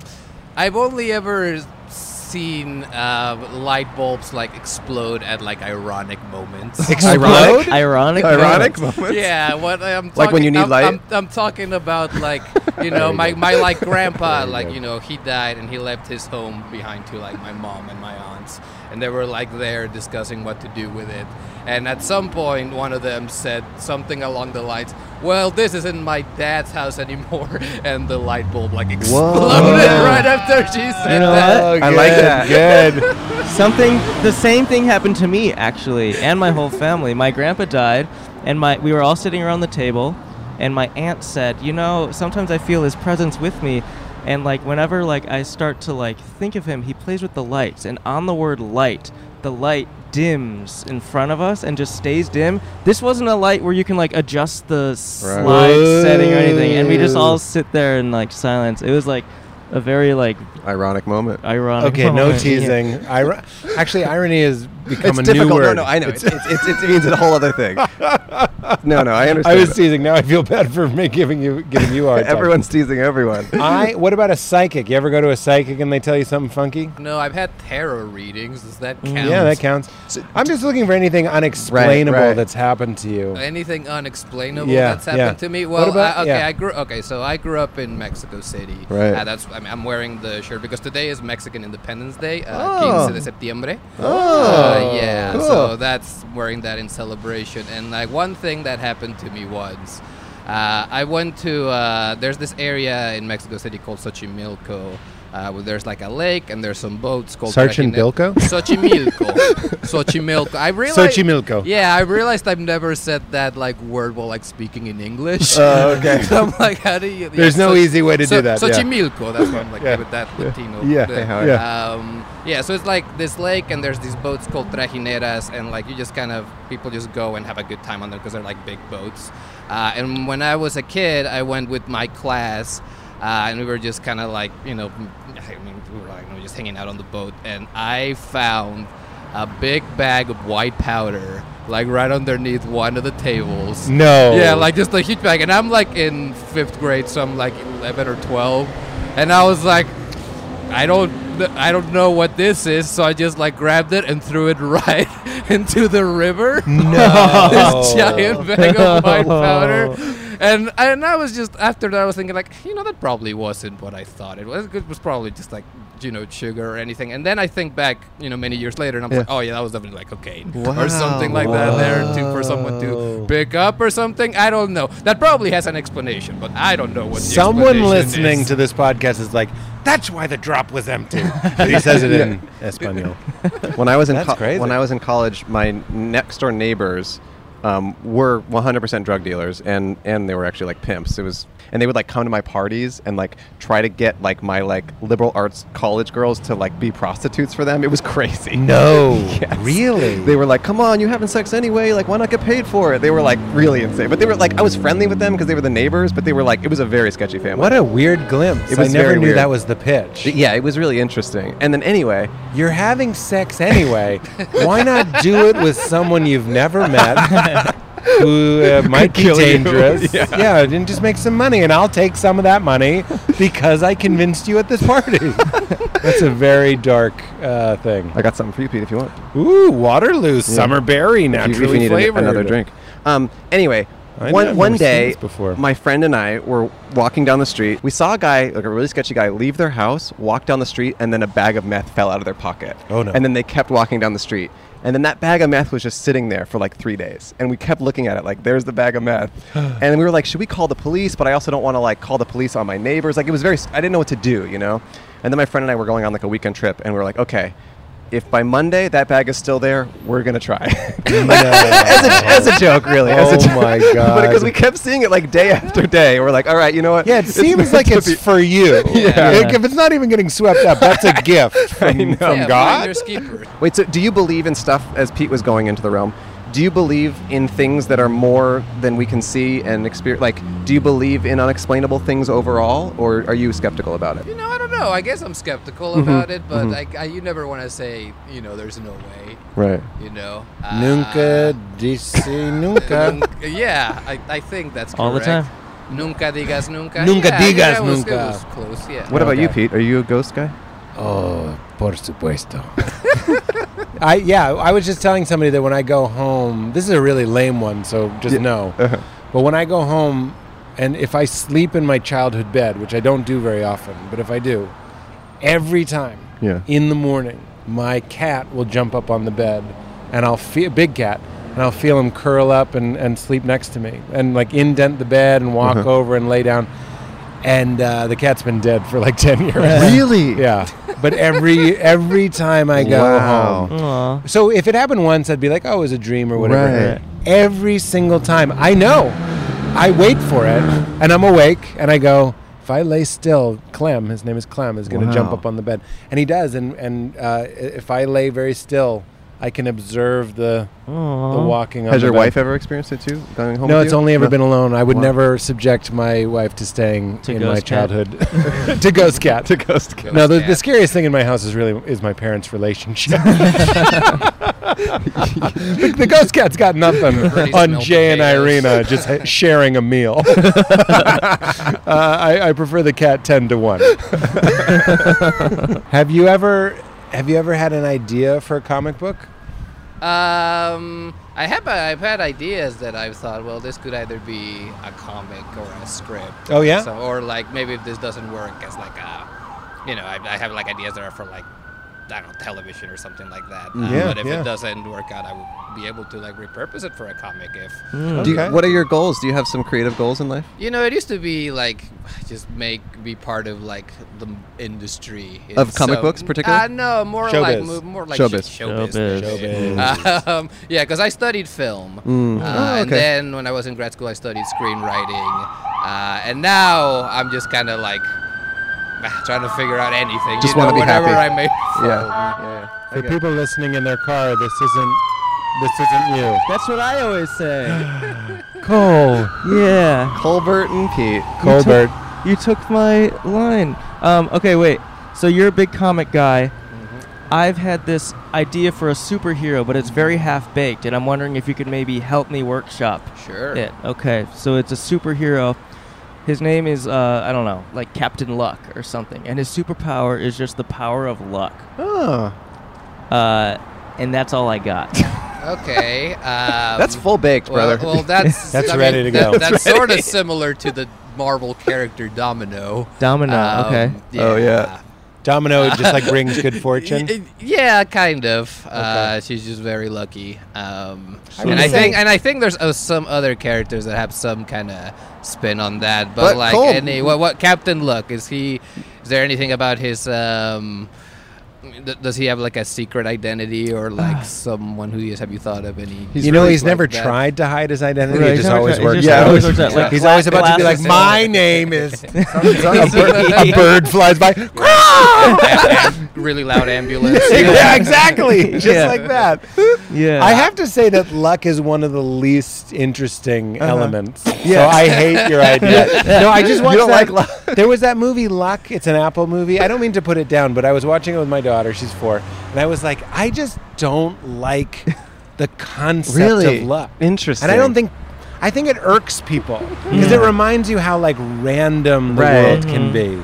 S10: I've only ever seen uh, light bulbs like explode at like ironic moments.
S6: Ironic? Ironic
S2: Ironic moments. moments?
S10: Yeah, what I'm
S2: Like when you
S10: talking-
S2: need
S10: I'm,
S2: light?
S10: I'm, I'm talking about
S2: <laughs>
S10: like you
S2: There
S10: know
S2: you
S10: my,
S2: go.
S10: my like grandpa
S2: There you
S10: like
S2: go.
S10: you know he died and he left his home behind to like my mom and my aunts and they were like there discussing what to do with it and at some point one of them said something along the lines well this isn't my dad's house <laughs> anymore and the light bulb like exploded <laughs> right after she said
S6: You know
S10: that
S6: what?
S2: I like that.
S6: Good. Something. The same thing happened to me actually, and my whole family. My grandpa died, and my we were all sitting around the table, and my aunt said, "You know, sometimes I feel his presence with me." And like whenever like I start to like think of him, he plays with the lights, and on the word light, the light dims in front of us and just stays dim. This wasn't a light where you can like adjust the slide setting or anything, and we just all
S7: Whoa.
S6: sit there in like silence. It was like a very like
S2: ironic moment.
S6: Ironic.
S7: Okay, no
S6: moment.
S7: teasing. Iro- actually, irony has become
S2: it's
S7: a new
S2: difficult.
S7: word.
S2: No, no, I know. It's, it's, it's, it means a whole other
S7: <laughs>
S2: thing. No, no, I understand.
S7: I was teasing. Now I feel bad for me giving you giving you a hard time.
S2: <laughs> Everyone's teasing everyone.
S7: I. What about a psychic? You ever go to a psychic and they tell you something funky?
S10: no I've had tarot readings does that
S2: Mm,
S10: count
S7: Yeah, that counts. I'm just looking for anything unexplainable
S2: right.
S7: that's happened to you.
S10: Anything unexplainable
S7: Yeah,
S10: that's
S7: yeah.
S10: happened to me?
S7: What
S10: Well,
S7: about-
S10: I, okay,
S7: yeah.
S10: I grew. Okay, so I grew up in Mexico City.
S7: Right.
S10: Uh, that's I'm, I'm wearing the shirt because today is Mexican Independence Day, uh,
S7: Oh.
S10: 15 de septiembre.
S7: Oh,
S10: Uh, yeah.
S7: cool.
S10: So that's wearing that in celebration. And like one thing that happened to me once. Uh, I went to uh, there's this area in Mexico City called Xochimilco, uh, where there's like a lake and there's some boats called
S7: Sarchinbilco?
S10: Xochimilco, Xochimilco.
S7: <laughs>
S10: I realized
S7: Xochimilco.
S10: Yeah, I realized I've never said that like word while like speaking in English.
S7: Oh, okay.
S10: so <laughs> I'm like, how do you?
S7: There's no easy way to do that, yeah.
S10: Xochimilco. That's what I'm like
S7: Yeah.
S10: with that
S7: Yeah.
S10: Latino.
S7: Yeah,
S10: the-
S7: yeah, yeah.
S10: Um, yeah. So it's like this lake, and there's these boats called trajineras, and like you just kind of people just go and have a good time on them because they're like big boats. Uh, and when I was a kid, I went with my class. Uh, and we were just kind of like, you know, I mean, we were like, you know, just hanging out on the boat. And I found a big bag of white powder, like right underneath one of the tables.
S7: No.
S10: Yeah, like just a huge bag. And I'm like in fifth grade, so I'm like 11 or 12. And I was like, I don't, kn- I don't know what this is. So I just like grabbed it and threw it <laughs> right into the river. <laughs>
S7: No.
S10: this giant bag of white powder. and and I was just after that I was thinking like you know that probably wasn't what I thought it was. It was probably just like you know sugar or anything. And then I think back you know many years later and I'm
S7: Yeah.
S10: like oh yeah that was definitely like cocaine
S7: Wow.
S10: or something like that there to, for someone to pick up or something. I don't know. That probably has an explanation, but I don't know what. the
S7: Someone
S10: explanation
S7: listening
S10: is.
S7: to this podcast is
S2: <laughs>
S7: like, that's why the drop was empty. <laughs> he says it in Espanol.
S2: when I was in
S7: That's
S2: co-
S7: crazy.
S2: when I was in college, my next door neighbors um, were 100% drug dealers, and and they were actually like pimps. It was, and they would like come to my parties and like try to get like my like liberal arts college girls to like be prostitutes for them. It was crazy. <laughs>
S7: No,
S2: really. They were like, "Come on, you're having sex anyway. Like, why not get paid for it?" They were like really insane, but they were like, I was friendly with them because they were the neighbors, but they were like, it was a very sketchy family.
S7: What a weird glimpse.
S2: It was
S7: I never
S2: very
S7: knew
S2: weird.
S7: that was the pitch.
S2: Yeah, it was really interesting. And then anyway,
S7: you're having sex anyway. Why not do it with someone you've never
S2: <laughs>
S7: met who uh, might be
S2: kill you.
S7: dangerous?
S2: <laughs> Yeah.
S7: and just make some money, and I'll take some of that money because I convinced you at this
S2: <laughs>
S7: party. That's a very dark uh, thing.
S2: I got something for you, Pete, if you want.
S7: Ooh, Waterloo
S2: Yeah.
S7: summer berry
S2: If you- if
S7: naturally
S2: you need an-
S7: flavored.
S2: another drink. Um, anyway,
S7: I
S2: one,
S7: never
S2: one
S7: seen
S2: day,
S7: this before.
S2: my friend and I were walking down the street. We saw a guy, like a really sketchy guy, leave their house, walk down the street, and then a bag of meth fell out of their pocket.
S7: Oh, no.
S2: And then they kept walking down the street. And then that bag of meth was just sitting there for like three days. And we kept looking at it like, there's the bag
S7: <sighs>
S2: of meth. and we were like, should we call the police? But I also don't want to like call the police on my neighbors. Like it was very, s- I didn't know what to do, you know? And then my friend and I were going on like a weekend trip and we were like, okay, if by Monday that bag is still there, we're going to try. <laughs> as, a, as a joke, really. As
S7: Oh
S2: a joke.
S7: my
S2: <laughs> but
S7: God.
S2: because we kept seeing it like day after day, we're like, all right, you know what?
S7: Yeah, it seems
S2: meant
S7: like
S2: to
S7: it's
S2: <laughs> be-
S7: for you.
S2: Yeah.
S7: Like, if it's not even getting swept up, that's a
S2: <laughs>
S7: gift from,
S2: know.
S7: from
S2: Yeah,
S7: God.
S2: Wait, so do you believe in stuff as Pete was going into the realm? Do you believe in things that are more than we can see and experience? Like, do you believe in unexplainable things overall, or are you skeptical about it?
S10: No, I don't know. I guess I'm skeptical
S7: Mm-hmm.
S2: Mhm,
S10: about it, but
S2: mhm.
S10: like I, you never want to say, you know, there's no way.
S2: Right.
S10: You know. Uh,
S7: Nunca dice <laughs> nunca.
S10: Nunca- yeah, I, I think that's
S7: All the
S10: correct.
S7: time.
S10: Nunca digas nunca.
S7: Nunca
S10: yeah, I think
S7: digas
S10: that was- it
S7: nunca.
S10: was close, yeah.
S2: What about you,
S7: Okay.
S2: Pete? Are you a ghost guy?
S7: Oh, por supuesto. I yeah, I was just telling somebody that when I go home, this is a really lame one, so just no.
S2: Uh-huh.
S7: But when I go home, and if I sleep in my childhood bed, which I don't do very often, but if I do, every time
S2: Yeah.
S7: in the morning, my cat will jump up on the bed, and I'll feel big cat, and I'll feel him curl up and, and sleep next to me, and like indent the bed and walk
S2: Uh-huh.
S7: over and lay down. And uh, the cat's been dead for like ten years. <laughs>
S2: Really?
S7: Yeah. But every every time I go
S2: Wow.
S7: home, so if it happened once, I'd be like, "Oh, it was a dream or whatever."
S2: Right.
S7: Every single time, I know. I wait for it, and I'm awake, and I go. If I lay still, Clem, his name is Clem, is going to jump
S2: Wow.
S7: up on the bed, and he does. And and uh, i- if I lay very still, I can observe the the walking. on
S2: Has
S7: the
S2: your
S7: bed.
S2: wife ever experienced it too? Going home?
S7: No,
S2: with
S7: it's
S2: you?
S7: only ever
S2: No.
S7: been alone. I would
S2: Wow.
S7: never subject my wife to staying
S2: To
S7: in my
S2: ghost cat.
S7: <laughs> childhood to ghost cat. to
S2: ghost cat.
S7: No, the,
S2: Ghost
S7: the
S2: cat.
S7: scariest thing in my house is really is my parents'
S2: <laughs>
S7: relationship. <laughs> the, the ghost cat's got nothing
S2: Pretty
S7: on
S2: smelled
S7: Jay and
S2: potatoes.
S7: Irina just ha- sharing a meal. <laughs> uh, I, I prefer the cat ten to
S2: <laughs>
S7: one. <laughs> have you ever have you ever had an idea for a comic book?
S10: Um, I have a, I've had ideas that I've thought, well, this could either be a comic or a script.
S7: Oh,
S10: or
S7: yeah?
S10: so- or like maybe if this doesn't work as like a, you know, I, I have like ideas that are for like, I don't know, television or something like that. Um,
S2: Mhm. Yeah,
S10: but if
S2: yeah.
S10: it doesn't work out, I would be able to like repurpose it for a comic if.
S2: Do you- Hmm. what are your goals? Do you have some creative goals in life?
S10: You know, it used to be like just make be part of like the m- industry
S2: Of comic
S10: itself.
S2: books particularly?
S10: Uh, no, more like
S2: Showbiz.
S10: mo- more like
S2: Showbiz.
S10: sh- showbiz.
S2: Showbiz.
S10: maybe. <laughs>
S2: Showbiz.
S10: Um, yeah, because I studied film,
S2: Mm.
S10: uh,
S2: Oh,
S10: and
S2: okay.
S10: then when I was in grad school, I studied screenwriting, uh, and now I'm just kind of like <sighs> trying to figure out anything.
S7: Just
S10: you know,
S7: wanna be
S10: whatever
S7: happy.
S10: I make.
S7: <laughs> Yeah.
S2: yeah.
S7: For people listening in their car, this isn't this isn't you.
S16: That's what I always say.
S7: <sighs> Cole.
S16: Yeah.
S2: Colbert and Pete.
S7: Colbert.
S16: You took, my line. Um, okay, wait. So you're a big comic guy.
S2: Mm-hmm.
S16: I've had this idea for a superhero, but it's very half baked, and I'm wondering if you could maybe help me workshop.
S10: Sure.
S16: It. Okay. So it's a superhero. His name is uh, I don't know, like Captain Luck or something, and his superpower is just the power of luck.
S2: Oh.
S16: Uh, and that's all I got.
S10: Okay. Um,
S2: That's full baked,
S10: well-
S2: brother.
S10: Well, that's
S7: That's
S10: I mean,
S7: ready to
S10: that-
S7: go.
S10: that's
S7: That's
S10: sort of
S7: ready.
S10: similar to the Marvel character Domino.
S16: Domino,
S10: Um,
S16: okay.
S7: Oh, yeah.
S10: <laughs>
S7: Domino <laughs> just, like, brings good fortune?
S10: Y- Yeah, kind of. Uh, she's just very lucky. Um,
S7: I
S10: and
S7: would
S10: I
S7: say-
S10: think, and I think there's uh, some other characters that have some kind of spin on that. But,
S11: But
S10: like,
S11: Cole-
S10: any what, what Captain Luck is he? Is there anything about his? Um, th- does he have like a secret identity or
S7: <sighs>
S10: like someone who he is? Have you thought of any?
S7: you know,
S10: traits
S7: he's
S10: like
S7: never
S10: that?
S7: tried to hide his identity.
S10: Right,
S7: it
S10: he's
S7: just
S10: never
S7: always
S10: tried-
S7: works.
S10: he's just
S7: out.
S10: always worked out, like,
S7: he's always about to be like,
S10: glasses. <laughs>
S7: my name
S2: <laughs>
S7: is. <laughs> a,
S10: Something- <laughs>
S7: bird, a bird flies by. <laughs>
S10: Am- am- really loud ambulance.
S7: yeah, exactly. Just
S10: Yeah.
S7: like that.
S16: Yeah.
S7: I have to say that luck is one of the least interesting
S16: Uh-huh.
S7: <laughs> elements.
S16: Yeah.
S7: So I hate your idea.
S16: Yeah.
S7: <laughs> No, I just
S16: You
S7: watched
S16: don't like
S7: that.
S16: luck.
S7: <laughs> There was that movie Luck. It's an Apple movie. I don't mean to put it down, but I was watching it with my daughter. She's four, and I was like, I just don't like the concept
S2: Really?
S7: of luck.
S2: Interesting.
S7: And I don't think. I think it irks people because it
S2: Mm.
S7: reminds you how like random the
S2: Right.
S7: world can
S2: Mhm.
S7: be,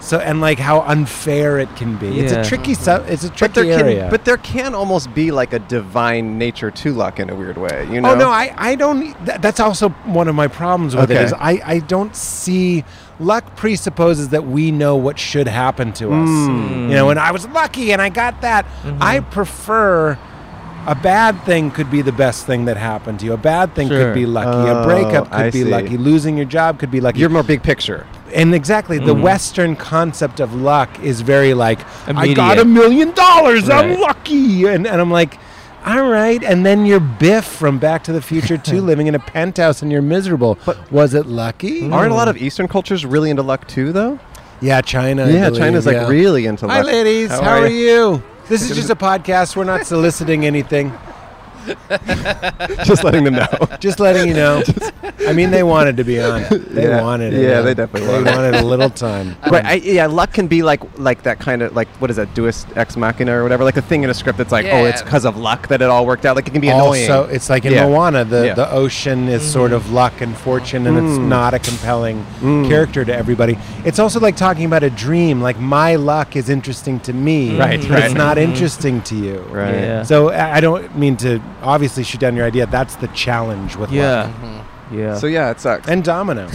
S7: so and like how unfair it can be. It's a tricky sub. It's a tricky
S2: but there
S7: area.
S2: Can, but there can almost be like a divine nature to luck in a weird way. You know?
S7: Oh no, I, I don't. That, that's also one of my problems with it
S2: Okay.
S7: is I, I don't see luck presupposes that we know what should happen to us.
S2: Mm.
S7: You know, and I was lucky and I got that.
S2: Mm-hmm.
S7: I prefer a bad thing could be the best thing that happened to you. A bad thing
S2: Sure.
S7: could be lucky. a
S2: Oh,
S7: breakup could
S2: I
S7: be
S2: see.
S7: lucky. Losing your job could be lucky.
S2: You're more big picture.
S7: and exactly the
S2: Mhm.
S7: Western concept of luck is very like I got
S2: Immediate.
S7: a million dollars. I'm
S2: Right.
S7: lucky, and and I'm like, all right. And then you're Biff from Back to the Future
S2: <laughs>
S7: Two, living in a penthouse, and you're miserable. But was it lucky?
S2: Aren't a lot of Eastern cultures really into luck too, though?
S7: yeah China? I
S2: yeah,
S7: believe,
S2: China's like
S7: yeah.
S2: really into luck.
S7: Hi, ladies. How, are, you?
S2: <laughs>
S7: This is just a podcast. We're not soliciting anything.
S2: Just letting them know.
S7: <laughs> Just letting you
S2: <laughs>
S7: know. I mean, they wanted to be on. it. They
S2: Yeah.
S7: wanted it.
S2: Yeah, they definitely wanted
S7: They
S2: it.
S7: wanted a little
S2: <laughs>
S7: time.
S2: Right, I, yeah, luck can be like like that kind of like what is that, Deus ex machina or whatever, like the thing in a script that's like, oh, it's
S7: Yeah.
S2: because of luck that it all worked out. Like it can be annoying.
S7: Also, it's like in
S2: Yeah.
S7: Moana, the,
S2: Yeah.
S7: the ocean is sort of luck and fortune, and it's
S2: Mm.
S7: not a compelling
S2: Mm.
S7: character to everybody. It's also like talking about a dream. Like my luck is interesting to me,
S2: Right,
S7: But
S2: right.
S7: It's not
S2: Mhm.
S7: interesting to you,
S2: Right. Yeah.
S7: So I I don't mean to obviously shoot down your idea. That's the challenge with
S2: Yeah.
S7: luck.
S10: Mm-hmm.
S2: Mhm. Yeah. So, yeah, it sucks.
S7: And
S2: <laughs>
S7: Domino.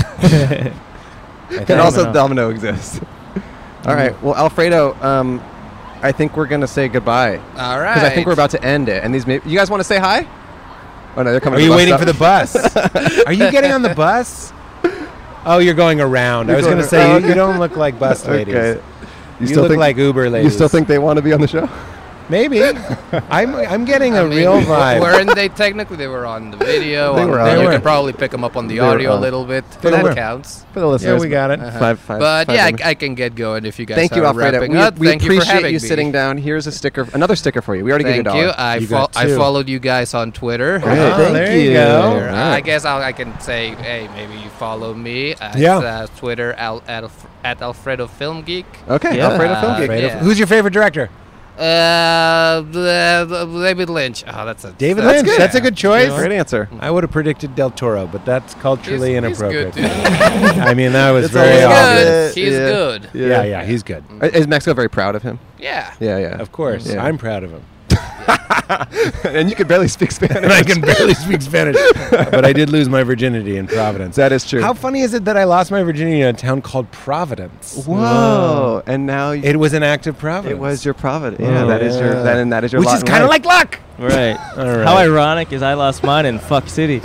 S2: and also Domino exists.
S7: Mm-hmm.
S2: All right. Well, Alfredo, um, I think we're gonna say goodbye.
S10: All
S2: Because I think
S10: right.
S2: we're about to end it. And these, may- you guys want to say hi? Oh no, they're coming.
S7: Are
S2: to
S7: you
S2: bus
S7: waiting
S2: stop.
S7: for the
S2: <laughs>
S7: bus? Are you getting on the bus? Oh, you're going around. I
S2: You're
S7: was
S2: going
S7: going to say
S2: ar- oh,
S7: you-
S2: okay.
S7: you don't look like bus ladies.
S2: <laughs> Okay.
S7: You,
S2: still
S7: look
S2: think-
S7: like Uber ladies.
S2: You still think they want to be on the show? <laughs>
S7: Maybe. I'm I'm getting a
S10: I mean,
S7: real
S10: w- <laughs>
S7: vibe.
S10: Weren't they technically? They were on the video.
S7: They
S10: on-
S7: were on
S10: You
S7: it.
S10: can probably pick them up on the
S7: They were
S10: audio a
S7: on.
S10: little bit.
S7: For the
S10: that
S7: win-
S10: counts. Uh-huh.
S7: for the Yeah, listeners. we got it. Five- five-
S10: but
S2: five
S10: yeah,
S2: minutes.
S10: I, I can get going if you guys
S2: Thank
S10: are
S2: you, Alfredo.
S10: wrapping
S2: We,
S10: up.
S2: we
S10: Thank you for
S2: appreciate
S10: having me.
S2: sitting down. Here's a sticker, another sticker for you. We already
S10: Thank
S2: gave you a dollar.
S10: I, fol- I followed you guys on Twitter.
S2: Great. Oh, Thank there you you. go.
S10: There.
S2: All
S10: I
S2: right.
S10: guess I'll, I can say, hey, maybe you follow me at
S7: Yeah.
S10: uh, Twitter al- at, Alf- at Alfredo Film Geek.
S7: Okay, Yeah. Alfredo Film Geek. Alfredo- Who's your favorite director?
S10: Uh, uh, David Lynch. Oh, that's a
S7: David
S10: that's
S7: Lynch.
S10: good.
S7: That's a good choice.
S10: Great
S2: answer.
S7: I would have predicted Del Toro, but that's culturally
S10: He's- he's
S7: inappropriate.
S10: good,
S2: <laughs>
S7: <laughs> I mean, that was
S2: It's
S7: very
S2: always good.
S7: obvious.
S10: He's Yeah. good.
S7: Yeah. yeah, he's good.
S2: Uh, Is Mexico very proud of him?
S10: Yeah.
S2: Yeah, yeah.
S7: Of course,
S2: Yeah.
S7: I'm proud of him.
S2: <laughs> and you can barely speak Spanish.
S7: and <laughs> I can barely speak Spanish, but I did lose my virginity in Providence.
S2: That is true.
S7: How funny is it that I lost my virginity in a town called Providence?
S2: Whoa! And now you,
S7: It was an act of providence. Oh,
S2: It was your providence. <laughs> Yeah, that is your.
S7: Yeah.
S2: That, and that is your.
S7: Which
S2: lot
S7: is
S2: in
S7: kinda
S2: life.
S7: like <laughs> luck.
S16: <laughs> Right.
S7: All
S16: How
S7: right.
S16: ironic is I lost mine in Fuck City.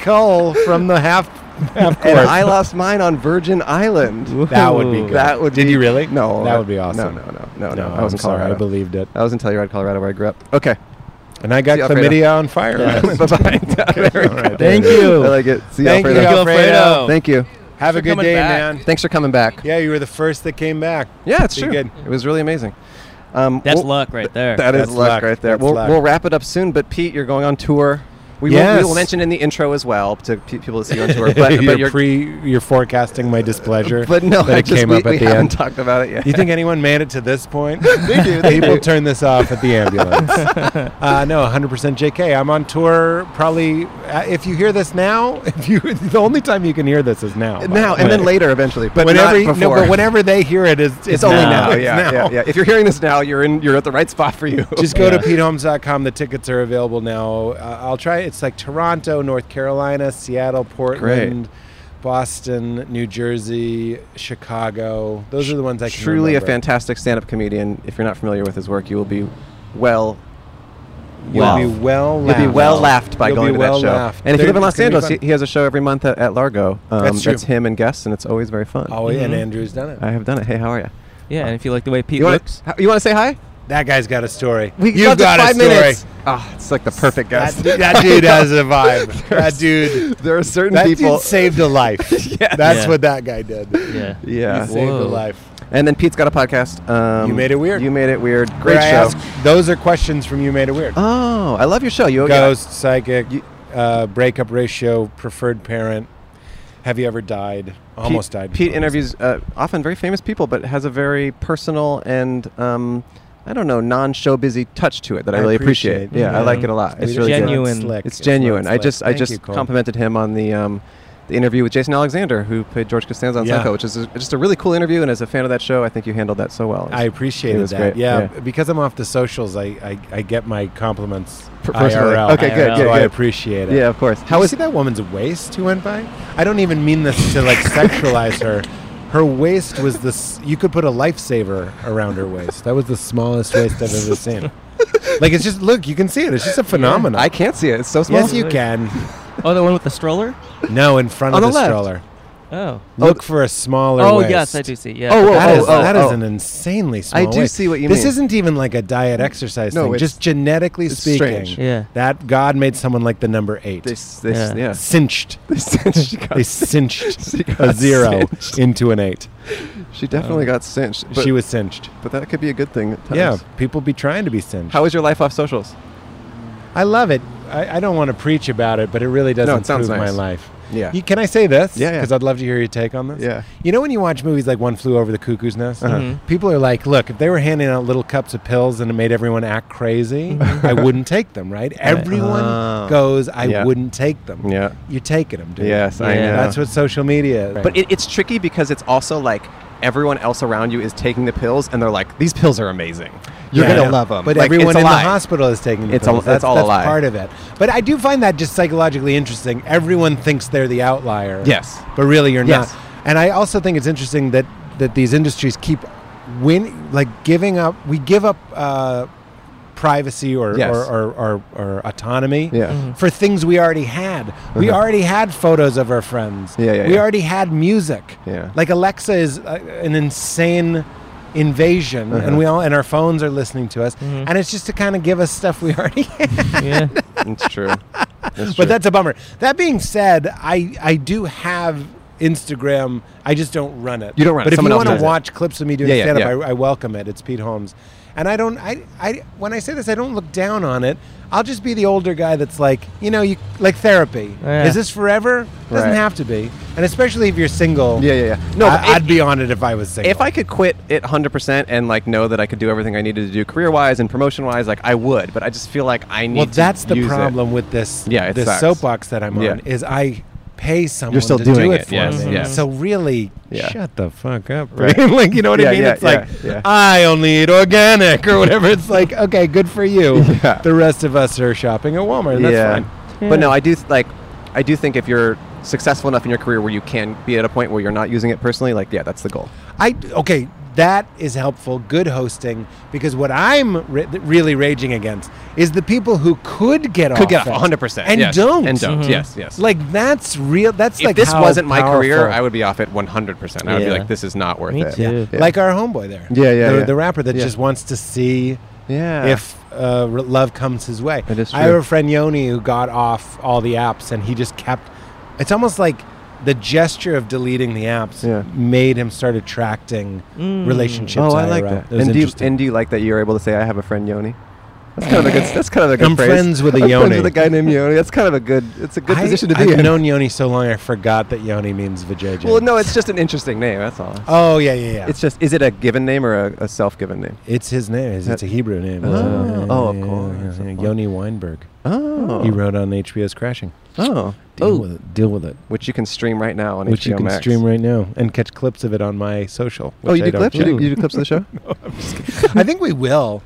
S7: Cole from the half <laughs> half
S2: And
S7: court.
S2: I lost mine on Virgin Island.
S7: That would be good.
S2: That would.
S7: Did
S2: be,
S7: you really?
S2: No.
S7: That would be awesome.
S2: No, no, no, no, no.
S7: No,
S2: I was
S7: I'm
S2: in
S7: sorry, I
S2: Colorado.
S7: believed it.
S2: I was in Telluride, Colorado, where I grew up. Okay.
S7: And I got
S2: See you, Alfredo.
S7: chlamydia on fire. <laughs>
S2: Yes. Bye-bye. <laughs> There we
S7: All right,
S2: go.
S7: there it is.
S2: I like it. See you,
S7: Thank
S2: Alfredo.
S7: you, Alfredo.
S2: Thank you.
S7: Have a
S2: Thanks for
S7: good
S2: coming
S7: day,
S2: back.
S7: man.
S2: Thanks for coming back.
S7: Yeah, you were the first that came back.
S2: Yeah, it's
S7: Be
S2: true. <laughs>
S7: Good.
S2: It was really amazing. Um,
S16: That's luck right there.
S2: That is
S16: That's
S2: luck,
S16: luck.
S2: right there.
S16: That's
S2: We'll,
S16: luck.
S2: we'll wrap it up soon. But Pete, you're going on tour. We, will, we
S7: Yes.
S2: will mention in the intro as well to pe- people to
S7: <laughs>
S2: see on tour. But,
S7: you're
S2: but you're
S7: pre you're forecasting my displeasure.
S2: But no,
S7: that
S2: I
S7: it
S2: just-
S7: came
S2: we-
S7: up at
S2: we
S7: the
S2: haven't
S7: end.
S2: talked about it yet.
S7: You think anyone made it to this point? <laughs>
S2: They do, they
S7: People
S2: do.
S7: turn this off <laughs> at the ambulance. uh, no, 100% JK. I'm on tour. Probably uh, if you hear this now, <laughs> if you the only time you can hear this is now. by
S2: now
S7: the
S2: and then
S7: way.
S2: later eventually, but
S7: whenever
S2: not
S7: no,
S2: before.
S7: but
S2: <laughs>
S7: whenever they hear it is it's,
S2: it's, only now.
S7: It's now.
S2: yeah, yeah, yeah. If you're hearing this now, you're in. You're at the right spot for you.
S7: <laughs> Just go to petehomes.com. The tickets are available now. Uh, I'll try. It's like Toronto, North Carolina, Seattle, Portland, Boston, New Jersey, Chicago. Those are the ones I can
S2: Truly a
S7: remember.
S2: fantastic stand-up comedian. If you're not familiar with his work, you will be well.
S7: You'll
S2: laughed.
S7: be well
S2: You'll be well
S7: laughed.
S2: laughed by
S7: You'll
S2: going
S7: be
S2: to
S7: well
S2: that show.
S7: laughed.
S2: And if you
S7: There-
S2: live in
S7: it's
S2: Los
S7: gonna be
S2: Angelos, he,
S7: fun.
S2: he has a show every month at, at Largo. Um,
S7: That's true.
S2: him and guests, and it's always very fun.
S7: Oh, yeah, and Mhm. Andrew's done it.
S2: I have done it. Hey, how are you?
S16: Yeah, and if you like the way Pete
S2: you wanna,
S16: looks,
S2: how- you want to say hi?
S7: That guy's got a story.
S2: We
S7: You've
S2: left it
S7: got a
S2: five
S7: story.
S2: minutes. Ah, it's like the perfect guest.
S7: That, that dude has a
S2: <laughs>
S7: vibe. That dude.
S2: There are certain
S7: That
S2: people.
S7: dude saved a life. <laughs> That's
S2: <laughs> Yeah.
S7: what that guy did.
S16: Yeah.
S7: <laughs>
S2: Yeah.
S7: He saved a life.
S2: And then Pete's got a podcast. Um,
S7: You Made It Weird.
S2: You made it weird.
S7: Where
S2: Great
S7: I
S2: show.
S7: ask- those are questions from You Made It Weird.
S2: Oh, I love your show. You
S7: Ghost, psychic, uh, breakup ratio, preferred parent. Have you ever died?
S2: Pete-
S7: Almost died.
S2: Pete interviews uh, often very famous people, but has a very personal and um, I don't know non-show busy touch to it that I,
S7: I
S2: really
S7: appreciate
S2: appreciate.
S7: it.
S2: Yeah, I
S7: Mhm.
S2: like it a lot.
S7: It's
S2: It's, really good.
S7: genuine. It's slick.
S2: It's
S7: It's not
S2: genuine. I
S7: slick.
S2: just I
S7: Thank
S2: just
S7: you, Cole.
S2: complimented him on the. Um, the interview with Jason Alexander, who played George Costanza on
S7: Yeah.
S2: Psycho, which is a, just a really cool interview. And as a fan of that show, I think you handled that so well.
S7: I appreciated
S2: it was
S7: that.
S2: Great.
S7: Yeah, because I'm off the socials, I, I, I get my compliments
S2: Per- personally.
S7: IRL.
S2: Okay, good,
S7: So
S2: good,
S7: I
S2: good.
S7: appreciate it.
S2: Yeah, of course.
S7: Did
S2: How
S7: you
S2: is-
S7: see that woman's waist who went by? I don't even mean this to like sexualize her. Her waist was this. You could put a lifesaver around her waist. That was the smallest waist I've ever seen. Like it's just look, you can see it. It's just a phenomenon.
S2: I can't see it. It's so small.
S7: Yes, you can.
S16: <laughs> Oh, the one with the stroller.
S7: No, in front
S16: On
S7: of
S16: the
S7: the,
S16: left.
S7: stroller.
S16: Oh.
S7: Look for a smaller
S16: Oh,
S7: waist.
S16: yes, I do see, yeah.
S2: Oh, oh,
S7: That
S2: oh,
S7: is-
S2: oh,
S7: that
S2: oh.
S7: is an insanely small
S2: I do
S7: waist.
S2: see what you
S7: this
S2: mean.
S7: isn't even like a diet exercise
S2: No,
S7: thing.
S2: it's-
S7: Just genetically
S2: it's
S7: speaking.
S2: strange. Yeah.
S7: That God made someone like the number eight.
S2: This- this- Yeah. yeah.
S7: Cinched.
S2: They cinched- she got
S7: They
S2: cin-
S7: cinched
S2: <laughs> she got
S7: a zero
S2: cinched.
S7: into an eight.
S2: She definitely got cinched. but-
S7: she was cinched.
S2: But that could be a good thing at times.
S7: Yeah. People be trying to be cinched.
S2: How is your life off socials?
S7: I love it. I, I don't want to preach about it, but it really does
S2: No, it
S7: improve
S2: sounds
S7: my
S2: nice.
S7: life.
S2: Yeah.
S7: You, can I say this?
S2: Yeah, yeah.
S7: Because I'd love to hear your take on this.
S2: Yeah.
S7: You know when you watch movies like One Flew Over the Cuckoo's Nest,
S2: Uh-huh. Mhm.
S7: people are like, "Look, if they were handing out little cups of pills and it made everyone act crazy, I wouldn't take them."
S2: <laughs>
S7: Right? Everyone
S2: Oh.
S7: goes, "I
S2: Yeah.
S7: wouldn't take them."
S2: Yeah.
S7: You're taking them, dude.
S2: Yes, I know.
S7: That's what social media is.
S2: But it, it's tricky because it's also like everyone else around you is taking the pills, and they're like, "These pills are amazing. You're
S7: Yeah.
S2: gonna love them."
S7: But everyone in the hospital is taking the
S2: It's a-
S7: pills.
S2: it's
S7: that's,
S2: all a
S7: that's
S2: lie.
S7: part of it. But I do find that just psychologically interesting. Everyone thinks they're the outlier.
S2: Yes.
S7: but really you're
S2: Yes.
S7: not. And I also think it's interesting that that these industries keep win like giving up. We give up. Uh, privacy or,
S2: Yes.
S7: or, or, or, or autonomy
S2: Yeah. Mhm.
S7: for things we already had we
S2: Uh-huh.
S7: already had photos of our friends
S2: Yeah, yeah,
S7: we
S2: yeah.
S7: already had music <laughs>
S2: Yeah.
S7: like Alexa is uh, an insane invasion,
S2: Uh-huh. Mm-hmm.
S7: and we all and our phones are listening to us, and it's just to kind of give us stuff we
S2: <laughs>
S7: already. Had.
S16: Yeah.
S2: it's true. That's true.
S7: <laughs> but that's a bummer. That being said, I I do have Instagram. I just don't run it.
S2: You don't run it.
S7: But if
S2: Someone
S7: you
S2: else
S7: want to
S2: does it.
S7: watch clips of me doing
S2: Yeah, yeah,
S7: stand-up,
S2: yeah.
S7: I, I welcome it. It's Pete Holmes, and I don't. I I when I say this, I don't look down on it. I'll just be the older guy that's like, you know, you like therapy.
S2: Yeah.
S7: Is this forever? Doesn't
S2: Right.
S7: have to be. And especially if you're single.
S2: Yeah, yeah, yeah. No,
S7: I,
S2: but it-
S7: I'd be on it if I was single.
S2: if I could quit it 100% and like know that I could do everything I needed to do career-wise and promotion-wise, like I would. But I just feel like I need.
S7: Well,
S2: to
S7: that's the
S2: use it.
S7: problem with this.
S2: Yeah, it
S7: this
S2: sucks.
S7: soapbox that I'm on
S2: Yeah.
S7: is I pay someone
S2: still
S7: to
S2: doing
S7: do it,
S2: it,
S7: for
S2: yes,
S7: me.
S2: yes.
S7: So really,
S2: Yeah.
S7: shut the fuck up,
S2: Right.
S7: right? <laughs> like you know what
S2: Yeah,
S7: I mean?
S2: yeah,
S7: it's like
S2: yeah, yeah.
S7: I only eat organic or whatever. It's
S2: <laughs>
S7: like okay, good for you. The rest of us are shopping at Walmart. and That's fine.
S2: But no, I do th- like I do think if you're successful enough in your career where you can be at a point where you're not using it personally, like yeah, that's the goal.
S7: I okay. That is helpful. Good hosting because what I'm re- really raging against is the people who could get
S2: Could
S7: off
S2: get off,
S7: it
S2: 100%,
S7: and
S2: yes,
S7: don't
S2: and don't, Mhm. yes, yes.
S7: Like that's real. That's
S2: if
S7: like
S2: this
S7: how
S2: wasn't my career,
S7: powerful-
S2: I would be off it 100%. I would be
S7: Yeah.
S2: like this is not worth
S7: Me
S2: it.
S7: too. Like our homeboy there.
S2: Yeah, yeah,
S7: The,
S2: yeah.
S7: the rapper that
S2: Yeah.
S7: just wants to see
S2: Yeah.
S7: if uh, r- love comes his way.
S2: That is
S7: I have
S2: true.
S7: a friend Yoni who got off all the apps and he just kept. It's almost like the gesture of deleting the apps made him start attracting relationships.
S2: Oh, I like
S7: IRL.
S2: that.
S7: It was
S2: and do you,
S7: interesting.
S2: and do you like that you're able to say I have a friend Yoni? That's
S7: <laughs>
S2: kind of a good. That's kind of a good
S7: I'm
S2: phrase.
S7: friends with a
S2: <laughs> I'm friends
S7: Yoni.
S2: with a guy named Yoni. That's kind of a good. It's a good position to be
S7: I've
S2: in.
S7: known Yoni so long, I forgot that Yoni means vajayjay.
S2: Well, no, it's just an interesting name. That's all.
S7: Oh, yeah, yeah, yeah.
S2: It's just—is it a given name or a, a self-given name?
S7: It's his name. It's, it's a Hebrew name.
S2: Oh,
S7: Yeah,
S2: oh, of
S7: yeah,
S2: course,
S7: yeah,
S2: of
S7: yeah.
S2: course.
S7: Yoni Weinberg.
S2: Oh.
S7: He wrote on HBO's Crashing.
S2: Oh.
S7: Deal
S2: Oh.
S7: with it. Deal with it.
S2: Which you can stream right now on
S7: which
S2: HBO
S7: you can
S2: Max.
S7: stream right now and catch clips of it on my social.
S2: Oh,
S7: which I
S2: you do
S7: don't
S2: clips? You do- you do clips of
S7: <laughs>
S2: the show?
S7: no, I'm just kidding. I think we will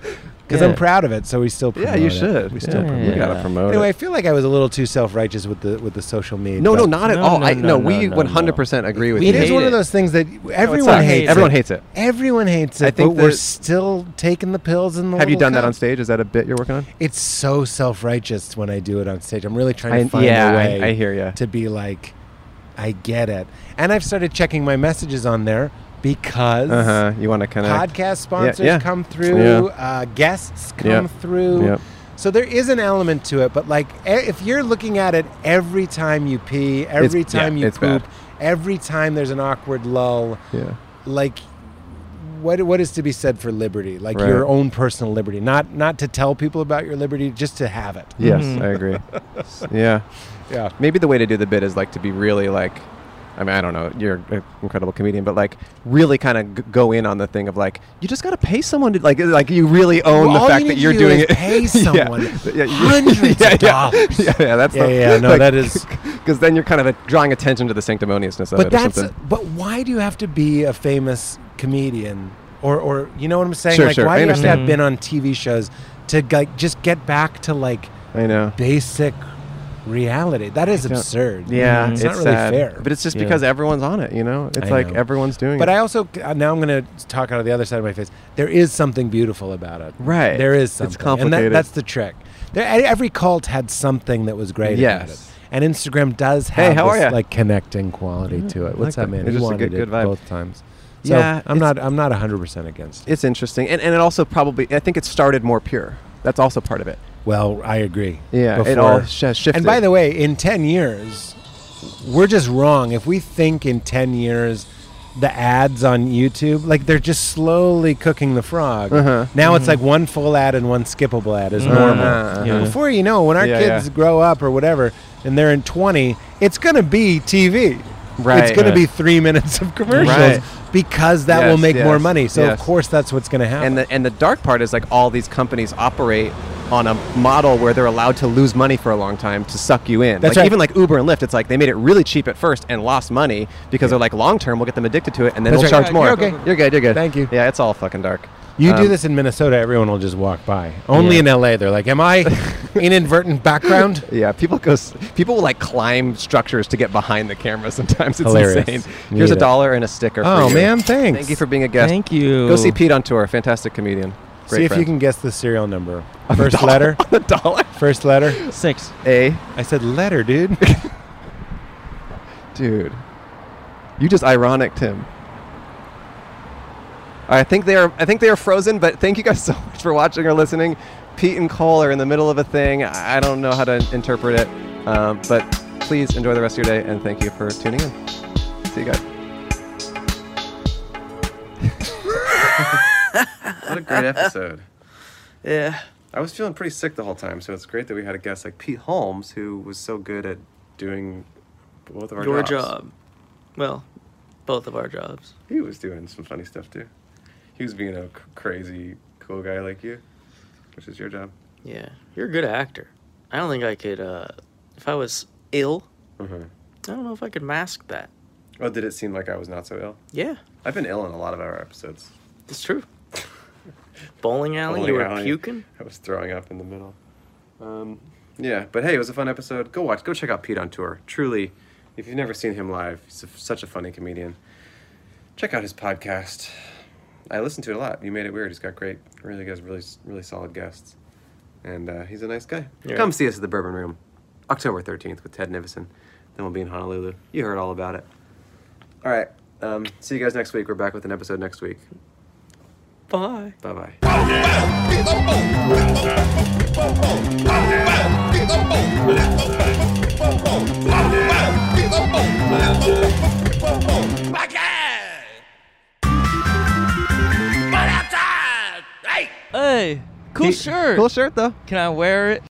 S7: because I'm
S2: Yeah.
S7: proud of it. So we still promote
S2: Yeah, you
S7: it.
S2: should.
S7: We still
S2: Yeah,
S7: promote
S2: you
S7: it.
S2: gotta promote
S7: Anyway,
S2: it.
S7: I feel like I was a little too self righteous with the with the social media.
S2: No, no,
S7: but-
S2: not at all. I, no, we 100% agree with you.
S7: It is one of those things that everyone
S2: sucks.
S7: hates.
S2: Everyone hates it.
S7: Everyone hates it.
S2: I think
S7: but we're
S2: that-
S7: still taking the pills and the.
S2: <laughs> Have you
S7: little
S2: done that
S7: cups.
S2: on stage? Is that a bit you're working on?
S7: It's so self righteous when I do it on stage. I'm really trying
S2: I-
S7: to find
S2: yeah,
S7: a
S2: I-
S7: way.
S2: I hear ya.
S7: To be like, I get it, and I've started checking my messages on there because
S2: Uh-huh. You wanna connect.
S7: podcast sponsors
S2: yeah.
S7: come through,
S2: Yeah.
S7: uh, guests come
S2: Yeah.
S7: through.
S2: Yep.
S7: So there is an element to it, but like e- if you're looking at it every time you pee, every
S2: It's- yeah,
S7: time you
S2: it's bad.
S7: poop, every time there's an awkward lull,
S2: Yeah.
S7: like what what is to be said for liberty? Like
S2: Right.
S7: your own personal liberty, not not to tell people about your liberty, just to have it.
S2: Yes, I
S7: <laughs>
S2: agree. <laughs> S- yeah.
S7: Hmm. Yeah.
S2: Maybe the way to do the bit is like to be really like, I mean, I don't know, you're an incredible comedian, but like really kind of g- go in on the thing of like, you just got to pay someone to, like, like you really own
S7: Well,
S2: the
S7: all
S2: fact
S7: you
S2: that
S7: need
S2: you're
S7: to do
S2: doing
S7: is
S2: it.
S7: pay
S2: <laughs> Yeah.
S7: someone
S2: you- <laughs>
S7: hundreds
S2: yeah,
S7: of
S2: yeah.
S7: dollars.
S2: Yeah, yeah, that's
S7: Yeah,
S2: the,
S7: yeah,
S2: <laughs>
S7: no, that is-
S2: Because then you're kind of uh drawing attention to the sanctimoniousness of
S7: but
S2: it
S7: that's
S2: uh, or something.
S7: but why do you have to be a famous comedian or or you know what I'm saying?
S2: Sure,
S7: like
S2: sure,
S7: why
S2: I
S7: do you have to have
S2: understand.
S7: been on TV shows to like just get back to like
S2: I know.
S7: basic reality? That is
S2: I don't-
S7: absurd. Mm-hmm.
S2: Yeah,
S7: it's, not really
S2: sad.
S7: fair.
S2: But it's just
S7: Yeah.
S2: because everyone's on it, you know? It's
S7: I
S2: like
S7: know.
S2: everyone's doing
S7: But
S2: it.
S7: I also uh, now I'm going to talk out of the other side of my face. There is something beautiful about it.
S2: Right.
S7: There is
S2: It's
S7: something. And that,
S2: complicated.
S7: that's the trick. There, e- every cult had something that was great about it.
S2: Yes.
S7: And Instagram does
S2: Hey,
S7: have
S2: how are
S7: this
S2: ya?
S7: like connecting quality
S2: Yeah,
S7: to
S2: I
S7: it. What's
S2: like
S7: up,
S2: that.
S7: man?
S2: It's
S7: You
S2: just a
S7: wanted
S2: good-
S7: it
S2: good vibe.
S7: both times. So
S2: Yeah,
S7: I'm
S2: it's-
S7: not I'm not 100% against it.
S2: It's interesting, and and it also probably I think it started more pure. That's also part of it.
S7: Well, I agree.
S2: Yeah, it
S7: Before-
S2: all sh- shifted.
S7: And by the way, in 10 years, we're just wrong. If we think in 10 years, the ads on YouTube, like they're just slowly cooking the frog.
S2: Uh-huh.
S7: Now it's
S2: Mhm.
S7: like one full ad and one skippable ad is
S2: Uh-huh,
S7: normal.
S2: uh-huh. Yeah.
S7: Before you know, when our
S2: Yeah,
S7: kids
S2: yeah.
S7: grow up or whatever, and they're in 20, it's going to be TV. It's
S2: Right.
S7: going to
S2: Right.
S7: be three minutes of commercials
S2: Right.
S7: because that will
S2: Yes,
S7: make more
S2: yes,
S7: money. So,
S2: yes.
S7: of course, that's what's going to happen.
S2: and the and the dark part is like all these companies operate on a model where they're allowed to lose money for a long time to suck you in.
S7: That's
S2: like
S7: right.
S2: even like Uber and Lyft, it's like they made it really cheap at first and lost money because they're like long term we'll get them addicted to it and then
S7: That's
S2: we'll
S7: right.
S2: charge more.
S7: You're okay.
S2: You're good, you're good.
S7: Thank you.
S2: Yeah, it's all fucking dark.
S7: You do
S2: Um,
S7: this in Minnesota, everyone will just walk by. Only
S2: Yeah.
S7: in LA, they're like, "Am
S2: <laughs>
S7: I inadvertent background?"
S2: Yeah, people go. s- People will like climb structures to get behind the camera. Sometimes <laughs> it's
S7: Hilarious.
S2: insane.
S7: Need
S2: Here's a
S7: it.
S2: dollar and a sticker. for
S7: Oh,
S2: you.
S7: man, thanks.
S2: Thank you for being a guest.
S7: Thank you.
S2: Go see Pete on tour. Fantastic comedian. Great
S7: See if
S2: friend. <laughs>
S7: you can guess the serial number.
S2: On the
S7: First
S2: dollar-
S7: <laughs> letter.
S2: on the dollar.
S7: First letter.
S16: Six.
S2: A.
S7: I said letter, dude.
S2: <laughs> Dude, you just ironicked him. I think they are. I think they are frozen. But thank you guys <laughs> so much for watching or listening. Pete and Cole are in the middle of a thing. I I don't know how to interpret it. Um, but please enjoy the rest of your day and thank you for tuning in. See you guys. what a
S7: <laughs>
S2: great episode.
S1: Yeah.
S14: I was feeling pretty sick the whole time, so it's great that we had a guest like Pete Holmes, who was so good at doing both of our
S1: Your
S14: jobs.
S1: job. Well, both of our jobs.
S14: He was doing some funny stuff too. He was being a c- crazy cool guy like you, which is your job.
S1: Yeah. You're a good actor. I don't think I could, uh, if I was ill,
S14: Mhm.
S1: I don't know if I could mask that.
S14: Oh, did it seem like I was not so ill?
S1: Yeah,
S14: I've been ill in a lot of our episodes.
S1: it's true. Bowling alley,
S14: Bowling
S1: you were
S14: alley.
S1: puking?
S14: I was throwing up in the middle. Um, yeah, but hey, it was a fun episode. Go watch, go check out Pete on tour. Truly, if you've never seen him live, he's a, such a funny comedian. Check out his podcast. I listen to it a lot. You made it weird. He's got great, really guys, really, really solid guests, and uh, he's a nice guy.
S1: Yeah.
S14: Come see us at the Bourbon Room, October thirteenth with Ted Nivison. Then we'll be in Honolulu. You heard all about it. All right. Um, see you guys next week. We're back with an episode next week.
S1: Bye.
S14: Bye bye.
S4: Hey!
S6: Cool shirt.
S2: Cool shirt though.
S6: Can I wear it?